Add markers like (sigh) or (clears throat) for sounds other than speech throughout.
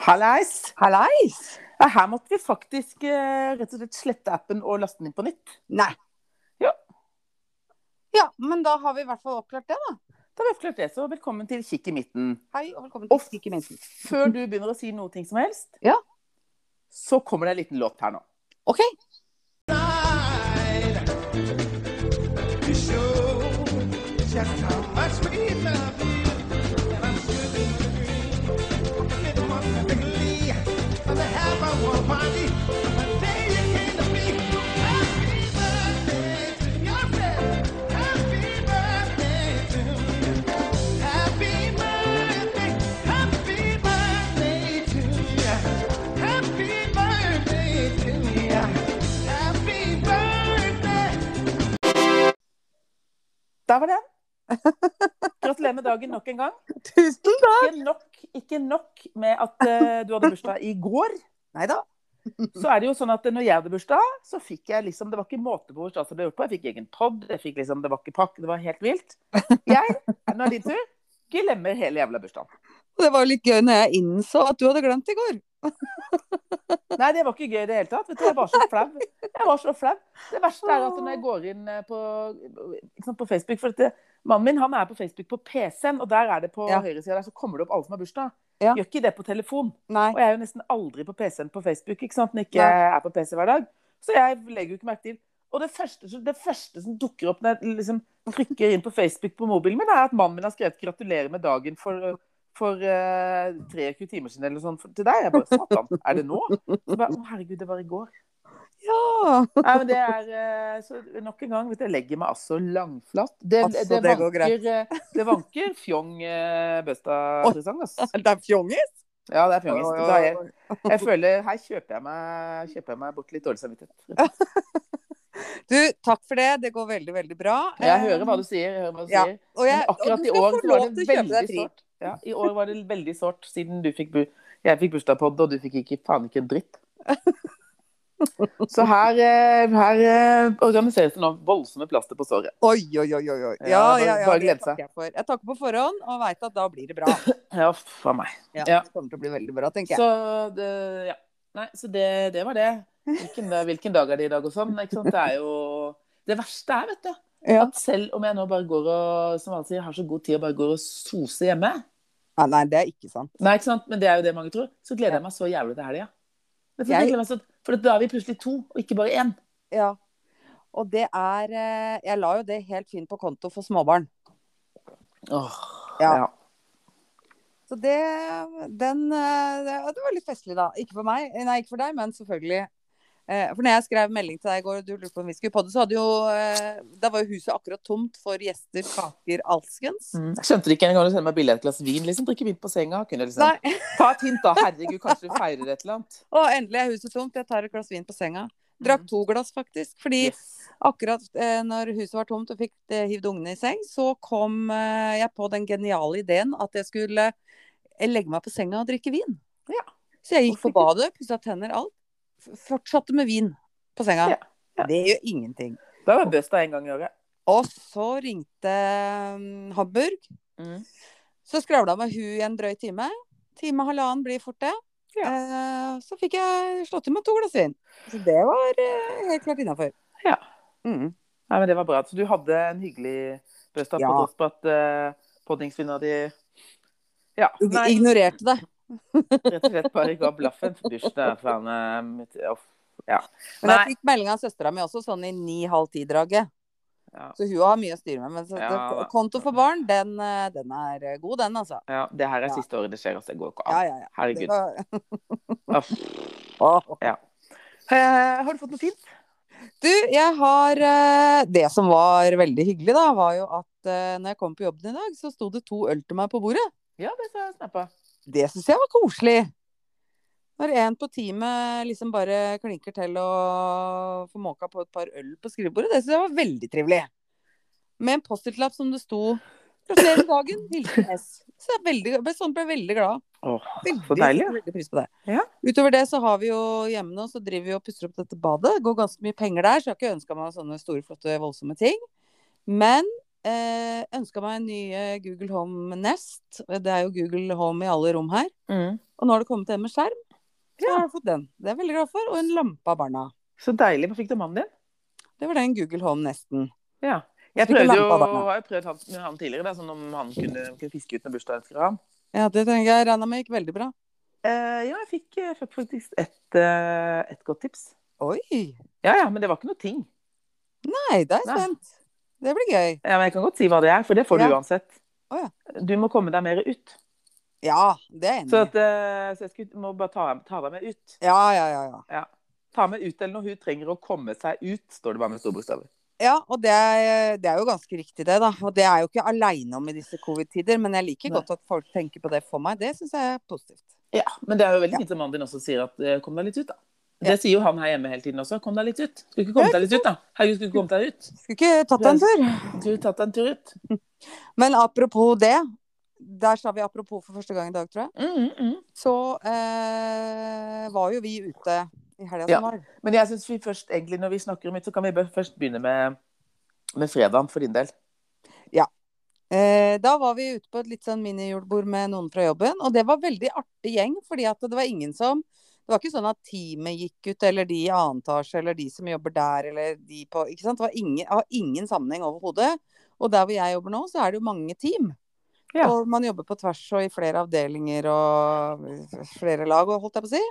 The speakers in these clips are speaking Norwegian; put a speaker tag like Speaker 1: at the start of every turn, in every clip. Speaker 1: Halleis!
Speaker 2: Hallais!
Speaker 1: Ja, her måtte vi faktisk eh, rett og slett slette appen og laste den inn på nytt.
Speaker 2: Nei.
Speaker 1: Ja.
Speaker 2: Ja, men da har vi i hvert fall oppklart det, da.
Speaker 1: Da har vi oppklart det, så velkommen til Kikk i midten.
Speaker 2: Hei, og velkommen
Speaker 1: Og-
Speaker 2: til Ikke minst.
Speaker 1: Før du begynner å si noe ting som helst,
Speaker 2: Ja.
Speaker 1: så kommer det en liten låt her nå.
Speaker 2: OK.
Speaker 3: to show just how much we love you. And I'm sure that you fit more perfectly. And I have a warm body. The day you came to me. Happy birthday to your friend. Happy birthday to you. Happy birthday. Happy birthday to you. Happy birthday to you. Happy birthday.
Speaker 1: Der var den. Gratulerer med dagen nok en gang.
Speaker 2: Tusen takk!
Speaker 1: Ikke nok, ikke nok med at eh, du hadde bursdag i går.
Speaker 2: Nei da.
Speaker 1: Så er det jo sånn at når jeg hadde bursdag, så fikk jeg liksom Det var ikke måte på hvor stas det ble gjort på. Jeg fikk egen pod, jeg fikk liksom Det var ikke pakke, det var helt vilt. Jeg, nå er det din tur, glemmer hele jævla bursdagen.
Speaker 2: Det var jo litt gøy når jeg innså at du hadde glemt i går.
Speaker 1: Nei, det var ikke gøy i det hele tatt. Vet du, jeg var så flau. Jeg var så flau. Det verste er at når jeg går inn eh, på, ikke sant, på Facebook For dette, mannen min han er på Facebook på PC-en, og der er det på
Speaker 2: Ja.
Speaker 1: høyresida der så kommer det opp alle som har bursdag.
Speaker 2: Ja.
Speaker 1: Gjør ikke det på telefon.
Speaker 2: Nei.
Speaker 1: Og jeg er jo nesten aldri på PC-en på Facebook, ikke sant? når jeg ikke
Speaker 2: Nei.
Speaker 1: er på PC hver dag. Så jeg legger jo ikke merke til. Og det første, som- det første som dukker opp når jeg liksom trykker inn på Facebook på mobilen min, er at mannen min har skrevet 'gratulerer med dagen' for, for eh, 23 timer siden eller noe sånt til deg. Jeg bare Satan, er det nå? Så bare, Å, herregud, det var i går.
Speaker 2: Ja.
Speaker 1: Nei, men det er eh, så Nok en gang, vet du, jeg legger meg altså langflatt. Det,
Speaker 2: Altså,
Speaker 1: det,
Speaker 2: det går
Speaker 1: vanker, eh, det vanker fjong eh, bøsta-presang, ass.
Speaker 2: (laughs) Det er fjongis.
Speaker 1: Ja, det er fjongis.
Speaker 2: Oi, oi,
Speaker 1: Da er jeg
Speaker 2: oi.
Speaker 1: jeg føler, Her kjøper jeg meg, kjøper jeg meg bort litt dårlig samvittighet.
Speaker 2: Du, takk for det. Det går veldig, veldig bra.
Speaker 1: Jeg hører hva du sier. Jeg hører hva du
Speaker 2: Ja,
Speaker 1: sier.
Speaker 2: og jeg,
Speaker 1: Men akkurat i
Speaker 2: og du skal
Speaker 1: år
Speaker 2: få
Speaker 1: så
Speaker 2: lov
Speaker 1: var det
Speaker 2: til å kjøpe
Speaker 1: veldig
Speaker 2: deg fri.
Speaker 1: sårt. Ja, I år var det veldig sårt, siden du fikk bu jeg fikk bursdag på det, og du fikk ikke, faen ikke en (laughs) dritt. Så her, eh, her eh, organiseres det nå voldsomme plaster på såret.
Speaker 2: Oi, oi, oi, oi. oi.
Speaker 1: Ja,
Speaker 2: Ja,
Speaker 1: bare-
Speaker 2: ja, ja.
Speaker 1: bare
Speaker 2: det
Speaker 1: glede seg.
Speaker 2: takker Jeg, for. jeg takker på forhånd og veit at da blir det bra.
Speaker 1: Ja, faen meg.
Speaker 2: Ja,
Speaker 1: Ja.
Speaker 2: Det kommer til å bli veldig bra, tenker jeg.
Speaker 1: Så det, ja. Nei, så det, det var det. Hvilken, dag- hvilken dag er det i dag og sånn? Ikke sant? Det er jo Det verste er, vet du,
Speaker 2: Ja.
Speaker 1: at selv om jeg nå bare går og som alle sier, har så god tid og bare går og soser hjemme,
Speaker 2: Nei, nei, det er ikke sant.
Speaker 1: Nei, ikke sant? Men det er jo det mange tror. Så gleder jeg meg så jævlig til helga. Vet du,
Speaker 2: Jeg-
Speaker 1: jeg gleder meg så- For da er vi plutselig to, og ikke bare én.
Speaker 2: Ja. Og det er eh, Jeg la jo det helt fint på konto for småbarn.
Speaker 1: Åh,
Speaker 2: Ja.
Speaker 1: ja.
Speaker 2: Så det Den eh, det- og Det var litt festlig, da. Ikke for meg, nei, ikke for deg, men selvfølgelig. Eh, For når jeg skrev melding til deg i går og du lurte på om vi skulle podde, så hadde jo eh, Da var jo huset akkurat tomt for gjester, kaker, alskens.
Speaker 1: Mm. Jeg skjønte det ikke engang å sende meg bilde av et glass vin. liksom. Drikke vin på senga. Kunne jeg liksom
Speaker 2: Nei,
Speaker 1: Ta et hint, da. Herregud, kanskje du feirer et eller annet.
Speaker 2: (laughs) og endelig er huset tomt. Jeg tar et glass vin på senga. Drakk to glass, faktisk. Fordi
Speaker 1: Yes.
Speaker 2: akkurat eh, når huset var tomt og fikk eh, hivd ungene i seng, så kom eh, jeg på den geniale ideen at jeg skulle eh, legge meg på senga og drikke vin.
Speaker 1: Ja.
Speaker 2: Så jeg gikk på
Speaker 1: Hvorfor
Speaker 2: badet, pussa tenner, alt. F- Fortsatte med vin på senga.
Speaker 1: Ja, ja.
Speaker 2: Det gjør ingenting.
Speaker 1: Da var bursdag en gang i året.
Speaker 2: Og så ringte mm, Hamburg.
Speaker 1: Mm.
Speaker 2: Så skravla med hun i en drøy time. Time halvannen blir fort det.
Speaker 1: Ja.
Speaker 2: Eh, så fikk jeg slått i meg to glass vin. Så det var eh, helt klart innafor.
Speaker 1: Ja.
Speaker 2: Mm.
Speaker 1: Nei, men Det var bra. Så du hadde en hyggelig bursdag på
Speaker 2: Ja.
Speaker 1: tross på at uh, poddingsvinna di Ja. Nei,
Speaker 2: Ignorerte det.
Speaker 1: rett og slett bare ga blaffen. Bursdag, faen eh, mitt- uff. Ja.
Speaker 2: Men jeg
Speaker 1: Nei.
Speaker 2: fikk melding av søstera mi også, sånn i ni-halv ti-draget.
Speaker 1: Ja.
Speaker 2: Så hun har mye å styre med. Men så,
Speaker 1: Ja.
Speaker 2: det, konto for barn, den, eh, den er god, den, altså.
Speaker 1: ja. Det her er
Speaker 2: Ja.
Speaker 1: siste året det skjer, altså. Det går ikke
Speaker 2: Ja,
Speaker 1: an.
Speaker 2: ja, ja. Det
Speaker 1: Herregud.
Speaker 2: var-
Speaker 1: Uff.
Speaker 2: Åh.
Speaker 1: Eh, har du fått noe fint?
Speaker 2: (laughs) Du, jeg har eh, Det som var veldig hyggelig, da, var jo at eh, når jeg kom på jobben i dag, så sto det to øl til meg på bordet.
Speaker 1: Ja, det sa jeg snappa.
Speaker 2: Det syns jeg var koselig. Når en på teamet liksom bare klinker til og får måka på et par øl på skrivebordet, det syns jeg var veldig trivelig. Med en Post-It-lapp som det sto 'Gratulerer med dagen, hilsen S'. Så jeg veldig, ble, sånn ble jeg veldig glad.
Speaker 1: Åh,
Speaker 2: Veldig,
Speaker 1: Så deilig, ja.
Speaker 2: setter veldig pris på det.
Speaker 1: Ja.
Speaker 2: Utover det så har vi jo hjemme nå, så driver vi og pusser opp dette badet. Det går ganske mye penger der, så jeg har ikke ønska meg sånne store, flotte, voldsomme ting. Men eh, ønska meg en ny eh, Google Home Nest. Det er jo Google Home i alle rom her.
Speaker 1: Mm.
Speaker 2: Og nå har det kommet en med skjerm. Så
Speaker 1: Ja.
Speaker 2: jeg har fått den. Det er jeg veldig glad for. Og en lampe av barna.
Speaker 1: Så deilig. Hva fikk du av mannen din?
Speaker 2: Det var den Google Home nesten.
Speaker 1: Ja. Jeg
Speaker 2: fikk en
Speaker 1: prøvde jo,
Speaker 2: lampe av barna.
Speaker 1: har jo prøvd han, med han tidligere, da, sånn om han kunne, kunne fiske ut noen bursdagsønsker av ham.
Speaker 2: Ja, det tenker jeg regna med gikk veldig bra.
Speaker 1: Eh, ja, jeg fikk eh, fikk faktisk et, eh, et godt tips.
Speaker 2: Oi!
Speaker 1: Ja, ja, men det var ikke noe ting.
Speaker 2: Nei, da er jeg
Speaker 1: Nei.
Speaker 2: spent. Det blir gøy.
Speaker 1: Ja, men jeg kan godt si hva det er, for det får du
Speaker 2: Ja.
Speaker 1: uansett.
Speaker 2: Å,
Speaker 1: Du må komme deg mer ut.
Speaker 2: Ja, det er jeg
Speaker 1: Så,
Speaker 2: enig.
Speaker 1: at, eh, så jeg skulle, må bare ta, ta deg med ut.
Speaker 2: i. Ja, ja, ja, ja.
Speaker 1: Ta med ut eller noe. Hun trenger å komme seg ut, står det bare med store bokstaver.
Speaker 2: Ja, og det er, det er jo ganske riktig det, da. Og det er jeg jo ikke aleine om i disse covid-tider, men jeg liker
Speaker 1: Nei.
Speaker 2: godt at folk tenker på det for meg. Det syns jeg er positivt.
Speaker 1: Ja, men det er jo veldig
Speaker 2: Ja.
Speaker 1: fint som mannen din også sier at eh, kom deg litt ut, da.
Speaker 2: Ja.
Speaker 1: Det sier jo han her hjemme hele tiden også. Kom deg litt ut. Skulle ikke komme deg litt ut, da. Herregud, skulle ikke komme deg ut.
Speaker 2: Skulle ikke tatt deg en tur.
Speaker 1: Skulle du tatt deg en tur ut.
Speaker 2: Men apropos det. Der sa vi apropos for første gang i dag, tror jeg.
Speaker 1: Mm, mm, mm.
Speaker 2: Så eh, var jo vi ute i helga som
Speaker 1: Ja.
Speaker 2: var.
Speaker 1: Men jeg syns vi først, egentlig, når vi snakker om ut, så kan vi bare først begynne med, med fredagen, for din del.
Speaker 2: Eh, da var vi ute på et litt sånn minijulebord med noen fra jobben, og det var veldig artig gjeng, fordi at det var ingen som Det var ikke sånn at teamet gikk ut, eller de i annen etasje, eller de som jobber der, eller de på Ikke sant? Det var ingen, har ingen sammenheng overhodet. Og der hvor jeg jobber nå, så er det jo mange team.
Speaker 1: Ja.
Speaker 2: Og man jobber på tvers og i flere avdelinger og flere lag, og holdt jeg på å si.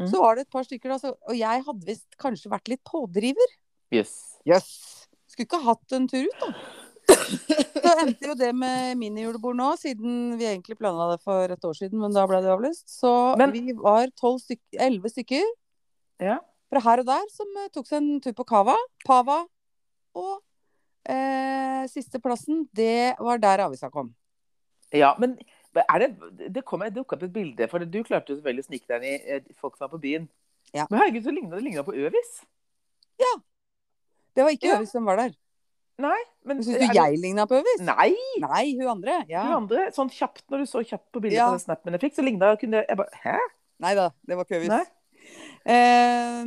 Speaker 1: Mm.
Speaker 2: Så var det et par stykker, da, så, og jeg hadde visst kanskje vært litt pådriver.
Speaker 1: Yes.
Speaker 2: Jøss. Skulle ikke hatt en tur ut, da. Så endte jo det med minijulebord nå, siden vi egentlig planla det for et år siden, men da ble det avlyst. Så
Speaker 1: Men-
Speaker 2: vi var tolv stykker, elleve stykker
Speaker 1: Ja.
Speaker 2: fra her og der som eh, tok seg en tur på Kava. Pava. Og eh, siste plassen, det var der avisa kom.
Speaker 1: Ja, men er det, det kom, det dukket opp et bilde, for du klarte jo selvfølgelig å snike deg inn i eh, folk som var på byen.
Speaker 2: Ja.
Speaker 1: Men herregud, så lignet det lignet på Øvis.
Speaker 2: Det var ikke
Speaker 1: Ja.
Speaker 2: Øvis som var der.
Speaker 1: Men
Speaker 2: Syns
Speaker 1: er
Speaker 2: du
Speaker 1: det- Mm.
Speaker 2: jeg ligna på Øvis?
Speaker 1: Nei,
Speaker 2: Nei, hun andre. Ja.
Speaker 1: du andre. Sånn kjapt, når du så kjapt på bildet
Speaker 2: Ja.
Speaker 1: på den snappen jeg fikk, så lignet jeg kunne, jeg bare, hæ?
Speaker 2: Nei da, det var ikke
Speaker 1: Nei.
Speaker 2: Øvis. Eh,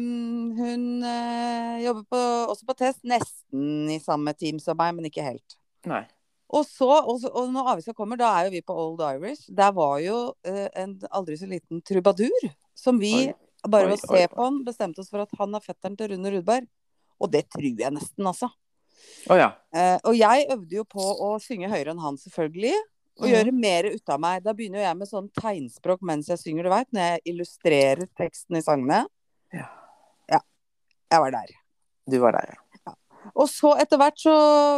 Speaker 2: hun eh, jobber på, også på test, nesten i samme team som meg, men ikke helt.
Speaker 1: Nei.
Speaker 2: Og så, og, så- og når avisa kommer, da er jo vi på Old Irish. Der var jo eh, en aldri så liten trubadur, som vi
Speaker 1: Oi.
Speaker 2: bare
Speaker 1: Oi,
Speaker 2: ved å
Speaker 1: oi,
Speaker 2: se
Speaker 1: oi.
Speaker 2: på han bestemte oss for at han er fetteren til Rune Rudberg. Og det tror jeg nesten, altså.
Speaker 1: Åja.
Speaker 2: Eh, og jeg øvde jo på å synge høyere enn han, selvfølgelig. Og
Speaker 1: Mhm.
Speaker 2: gjøre mer ut av meg. Da begynner jo jeg med sånn tegnspråk mens jeg synger, du veit. Når jeg illustrerer teksten i sangene.
Speaker 1: Ja.
Speaker 2: ja. Jeg var der.
Speaker 1: Du var der, ja.
Speaker 2: Og så etter hvert så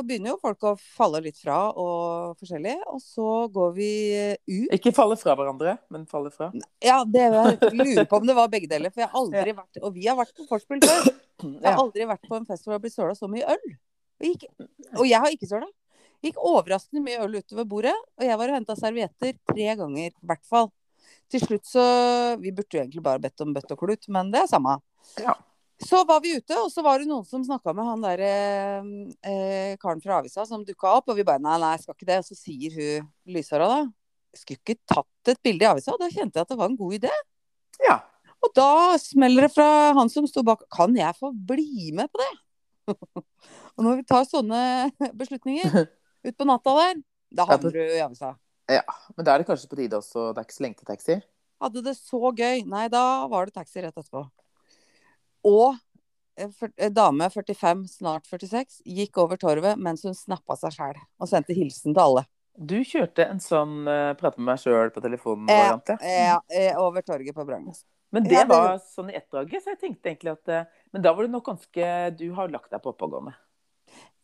Speaker 2: begynner jo folk å falle litt fra og forskjellig. Og så går vi ut.
Speaker 1: Ikke falle fra hverandre, men falle fra.
Speaker 2: Ja, det var, jeg lurer på om det var begge deler. For jeg har aldri vært Og vi har vært på vorspiel før. Jeg har
Speaker 1: Mm, Ja.
Speaker 2: aldri vært på en fest hvor det har blitt søla så mye øl. Og, gikk, og jeg har ikke søla. Gikk overraskende mye øl utover bordet. Og jeg var og henta servietter tre ganger, i hvert fall. Til slutt så Vi burde jo egentlig bare bedt om bøtt og klut, men det er samme.
Speaker 1: Ja.
Speaker 2: Så var vi ute, og så var det noen som snakka med han derre eh, karen fra avisa som dukka opp, og vi bare nei, nei, jeg skal ikke det. Og så sier hun lyshåra da skulle ikke tatt et bilde i avisa. Og da kjente jeg at det var en god idé.
Speaker 1: Ja.
Speaker 2: Og da smeller det fra han som sto bak. Kan jeg få bli med på det? (laughs) og når vi tar sånne (laughs)
Speaker 1: (laughs)
Speaker 2: beslutninger utpå natta der, da
Speaker 1: Ja, det-
Speaker 2: havner du i avisa.
Speaker 1: Men da er det kanskje på tide også, det er ikke så lenge til taxi.
Speaker 2: Hadde det så gøy. Nei, da var det taxi rett etterpå. Og en fyr- en dame 45, snart 46, gikk over torvet mens hun snappa seg sjæl. Og sendte hilsen til alle.
Speaker 1: Du kjørte en sånn eh, prate med meg sjøl på telefonen
Speaker 2: Eh,
Speaker 1: variant,
Speaker 2: Eh, eh, over torget på Brangs.
Speaker 1: Men
Speaker 2: Ja,
Speaker 1: det
Speaker 2: det-
Speaker 1: var sånn i ett draget, så jeg tenkte egentlig at eh, Men da var du nok ganske Du har lagt deg på oppegående.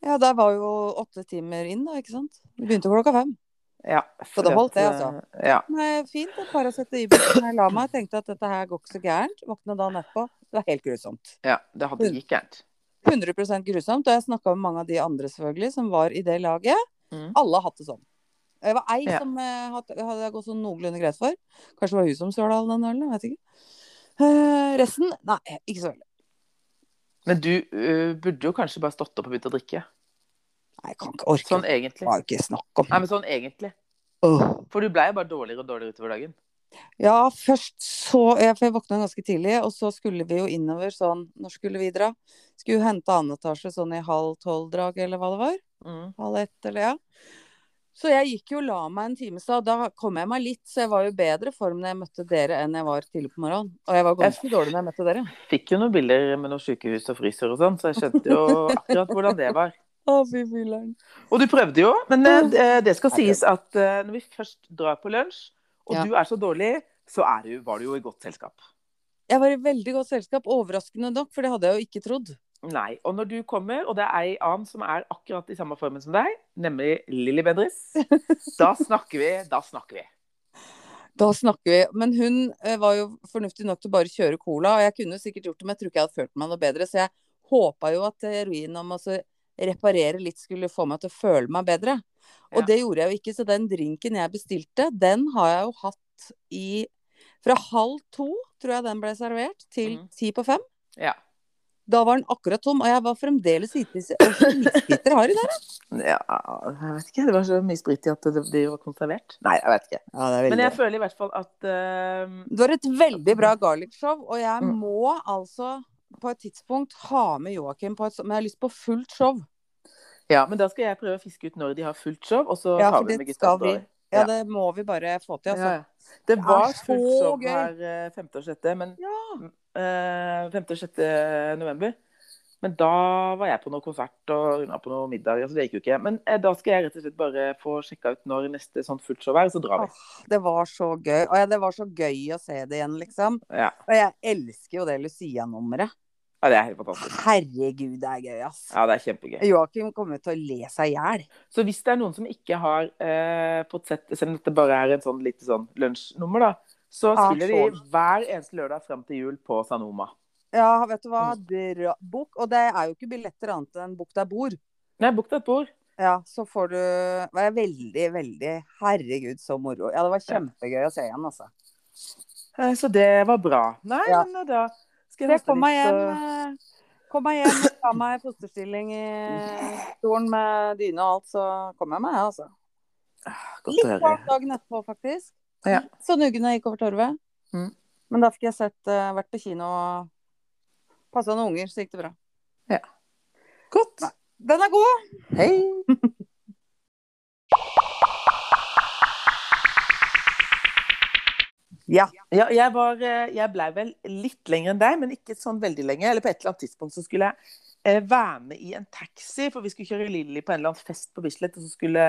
Speaker 2: Ja, der var jo åtte timer inn, da, ikke sant? Vi begynte klokka fem.
Speaker 1: Ja.
Speaker 2: Så det altså. holdt,
Speaker 1: fordi
Speaker 2: det,
Speaker 1: at, eh, Ja.
Speaker 2: Nei, fint at Paracet i bussen jeg la meg. Tenkte at dette her går ikke så gærent. Våkna dagen etterpå. Det var helt grusomt.
Speaker 1: ja. Det hadde
Speaker 2: Mm.
Speaker 1: gikk gærent.
Speaker 2: 100 grusomt. Og jeg snakka med mange av de andre selvfølgelig som var i det laget.
Speaker 1: Mm.
Speaker 2: Alle har hatt det sånn. Det var ei
Speaker 1: Ja.
Speaker 2: som eh, hadde, hadde jeg gått sånn noenlunde greit for. Kanskje det var hun som søla all den ølen, jeg vet ikke. Eh, resten nei, ikke så veldig.
Speaker 1: Men du eh, burde jo kanskje bare stått opp og begynt å drikke.
Speaker 2: Nei, jeg kan ikke orke.
Speaker 1: Sånn
Speaker 2: Det
Speaker 1: egentlig.
Speaker 2: var jo ikke snakk om.
Speaker 1: Nei, men sånn egentlig.
Speaker 2: Åh.
Speaker 1: For du blei bare dårligere og dårligere utover dagen.
Speaker 2: Ja, først så jeg, For jeg våkna ganske tidlig, og så skulle vi jo innover sånn Når skulle vi dra? Skulle hente annen etasje sånn i halv tolv-drag, eller hva det var.
Speaker 1: Mm.
Speaker 2: halv ett eller ja. Så jeg gikk jo og la meg en time i stad. Da kom jeg meg litt, så jeg var jo i bedre form når jeg møtte dere enn jeg var tidlig på morgenen. Og jeg var ganske dårlig når jeg møtte dere.
Speaker 1: Fikk jo noen bilder med noen sykehus og fryser og sånn, så jeg skjønte jo akkurat hvordan det var.
Speaker 2: Å, fy filler'n.
Speaker 1: Og du prøvde jo, men
Speaker 2: Mm.
Speaker 1: eh, det skal sies at eh, når vi først drar på lunsj, og
Speaker 2: Ja.
Speaker 1: du er så dårlig, så er du, var du jo i godt selskap.
Speaker 2: Jeg var i veldig godt selskap, overraskende nok, for det hadde jeg jo ikke trodd.
Speaker 1: Nei. Og når du kommer, og det er ei annen som er akkurat i samme formen som deg, nemlig Lilly Bendriss, (laughs) da snakker vi, da snakker vi.
Speaker 2: Da snakker vi. Men hun eh, var jo fornuftig nok til å bare kjøre cola, og jeg kunne jo sikkert gjort det, men jeg tror ikke jeg hadde følt meg noe bedre. Så jeg håpa jo at eh, heroin om å så reparere litt skulle få meg til å føle meg bedre. Og
Speaker 1: Ja.
Speaker 2: det gjorde jeg jo ikke, så den drinken jeg bestilte, den har jeg jo hatt i Fra halv to, tror jeg den ble servert, til
Speaker 1: Mhm.
Speaker 2: ti på fem.
Speaker 1: Ja.
Speaker 2: Da var den akkurat tom, og jeg var fremdeles hitvis Hvitbiter har i det?
Speaker 1: ja jeg vet ikke. Det var så mye sprit i at det det var konservert. Nei, jeg vet ikke.
Speaker 2: Ja, det er
Speaker 1: Men jeg føler i hvert fall at eh,
Speaker 2: Det var et veldig bra garlic-show, og jeg
Speaker 1: Mm.
Speaker 2: må altså på et tidspunkt ha med Joakim på et sånt Men jeg har lyst på fullt show.
Speaker 1: Ja, men da skal jeg prøve å fiske ut når de har fullt show, og så
Speaker 2: Ja,
Speaker 1: tar
Speaker 2: for
Speaker 1: vi
Speaker 2: det
Speaker 1: med
Speaker 2: skal
Speaker 1: Gustav
Speaker 2: vi.
Speaker 1: Dahl.
Speaker 2: Ja,
Speaker 1: Ja.
Speaker 2: det må vi bare få til, altså.
Speaker 1: Ja, ja. Det var
Speaker 2: er så
Speaker 1: fullt show
Speaker 2: gøy.
Speaker 1: her eh, femte og sjette, men eh, femte og sjette november. Men da var jeg på noe konsert og runda på noe middag, så det gikk jo ikke. Men eh, da skal jeg rett og slett bare få sjekka ut når neste sånn fullt show er, og så drar vi.
Speaker 2: Åh, det var så gøy. Og ja, det var så gøy å se det igjen, liksom.
Speaker 1: Ja,
Speaker 2: Og jeg elsker jo det Lucia-nummeret.
Speaker 1: ja det er helt fantastisk.
Speaker 2: Herregud, det er gøy, ass.
Speaker 1: Ja, det er kjempegøy.
Speaker 2: Joakim kommer til å le seg i hjel.
Speaker 1: Så hvis det er noen som ikke har eh, fått sett, selv om dette bare er en sånn lite sånn lunsjnummer, da, så
Speaker 2: Ah,
Speaker 1: spiller de hver eneste lørdag fram til jul på Sanoma.
Speaker 2: Ja, vet du hva.
Speaker 1: Mm.
Speaker 2: Dra, bok. Og det er jo ikke billetter annet enn bok der bor.
Speaker 1: Nei, bok deg et bord.
Speaker 2: Ja, så får du Det er veldig, veldig Herregud, så moro. Ja, det var kjempegøy å se igjen, altså.
Speaker 1: Eh, Så det var bra. Nei,
Speaker 2: Ja.
Speaker 1: men eh, da skal
Speaker 2: Så
Speaker 1: jeg
Speaker 2: jeg kom meg hjem,
Speaker 1: og-
Speaker 2: eh, kom meg hjem og ta meg fosterstilling i stolen med dyne og alt, så kom jeg meg, jeg, altså.
Speaker 1: Godt å
Speaker 2: Litt
Speaker 1: høre.
Speaker 2: varm dagen etterpå, faktisk.
Speaker 1: Ja.
Speaker 2: Så nuggene gikk over torvet.
Speaker 1: Mm.
Speaker 2: Men da fikk jeg sett, eh, vært på kino og passa noen unger, så gikk det bra.
Speaker 1: Godt.
Speaker 2: Den er god!
Speaker 1: Hei.
Speaker 2: (laughs) Ja.
Speaker 1: Ja, jeg, var, eh, jeg ble vel litt lenger enn deg, men ikke sånn veldig lenge. Eller på et eller annet tidspunkt så skulle jeg eh, være med i en taxi, for vi skulle kjøre Lilly på en eller annen fest på Bislett, og så skulle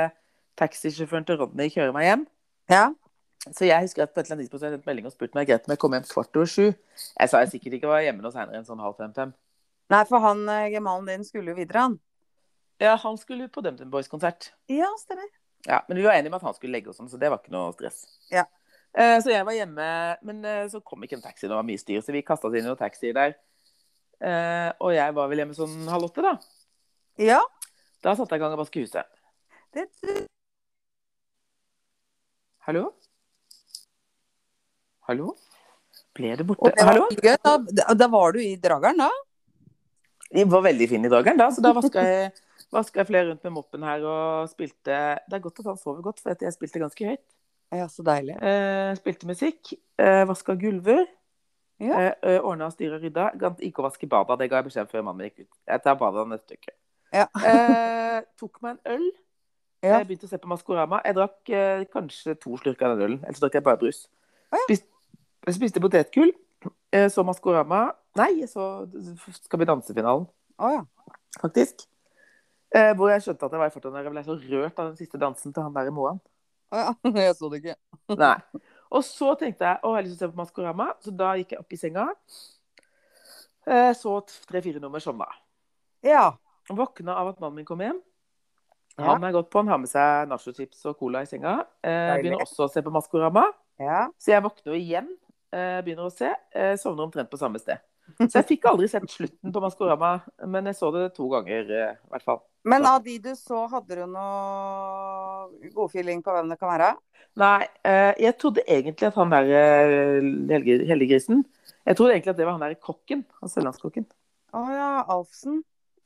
Speaker 1: taxisjåføren til Rodney kjøre meg hjem.
Speaker 2: ja.
Speaker 1: Så jeg husker at på et eller annet tidspunkt så hadde jeg sendt melding og spurt meg greit om jeg kom hjem kvart over sju. Jeg sa jeg sikkert ikke var hjemme noe seinere enn sånn halv fem-fem.
Speaker 2: Nei, for han eh, gemalen din skulle jo videre, han.
Speaker 1: Ja, han skulle på DumDum Boys-konsert.
Speaker 2: Ja, stemmer.
Speaker 1: Ja, men vi var enige om at han skulle legge oss om, så det var ikke noe stress.
Speaker 2: Ja.
Speaker 1: Eh, Så jeg var hjemme, men eh, så kom ikke en taxi, det var mye styr, så vi kasta oss inn i noen taxier der. Eh, Og jeg var vel hjemme sånn halv åtte, da.
Speaker 2: Ja.
Speaker 1: Da satte jeg i gang å vaske huset.
Speaker 2: Det
Speaker 1: Hallo? Hallo? Ble du
Speaker 2: Og
Speaker 1: borte?
Speaker 2: det var
Speaker 1: Hallo?
Speaker 2: veldig gøy. Da, da- da var du i drageren, da?
Speaker 1: Vi var veldig fine i dageren da, så da vaska jeg, vasket jeg flere rundt med moppen her og spilte Det er godt at han sover godt, for at jeg spilte ganske høyt.
Speaker 2: Ja, så deilig.
Speaker 1: Eh, spilte musikk, eh, vaska gulver.
Speaker 2: Ja.
Speaker 1: Ja. Ordna og styra og rydda. Gant ikke å vaske bada, det ga jeg beskjed om før mannen min gikk ut. Jeg tar bada neste uke.
Speaker 2: Ja.
Speaker 1: eh, tok meg en øl.
Speaker 2: Ja.
Speaker 1: Jeg begynte å se på Maskorama. Jeg drakk eh, kanskje to slurker av den ølen, ellers drakk jeg bare brus.
Speaker 2: Å, ja.
Speaker 1: Spist, jeg spiste potetgull, eh, så Maskorama Nei, jeg så Skal vi danse-finalen,
Speaker 2: Å ja.
Speaker 1: faktisk. Eh, hvor jeg skjønte at jeg var i 40-åra. Jeg ble så rørt av den siste dansen til han der i Moan.
Speaker 2: Å ja. (laughs) Jeg så det ikke.
Speaker 1: Nei. Og så tenkte jeg å, jeg har lyst til å se på Maskorama, så da gikk jeg opp i senga. Eh, Så tre-fire nummer sovna.
Speaker 2: Ja.
Speaker 1: Våkna av at mannen min kom hjem.
Speaker 2: Ja.
Speaker 1: Han er godt på, han har med seg nachochips og cola i senga. Eh,
Speaker 2: Deilig.
Speaker 1: begynner også å se på Maskorama.
Speaker 2: ja.
Speaker 1: Så jeg våkner jo igjen, eh, begynner å se. eh, Sovner omtrent på samme sted. Så jeg fikk aldri sett slutten på Maskorama, men jeg så det to ganger, eh, i hvert fall.
Speaker 2: Men av de du så, hadde du noe godfeeling på hvem det kan være?
Speaker 1: Nei, eh, jeg trodde egentlig at han der eh, Helge- Helliggrisen Jeg trodde egentlig at det var han der kokken. Han Sørlandskokken.
Speaker 2: Å ja, Alfsen.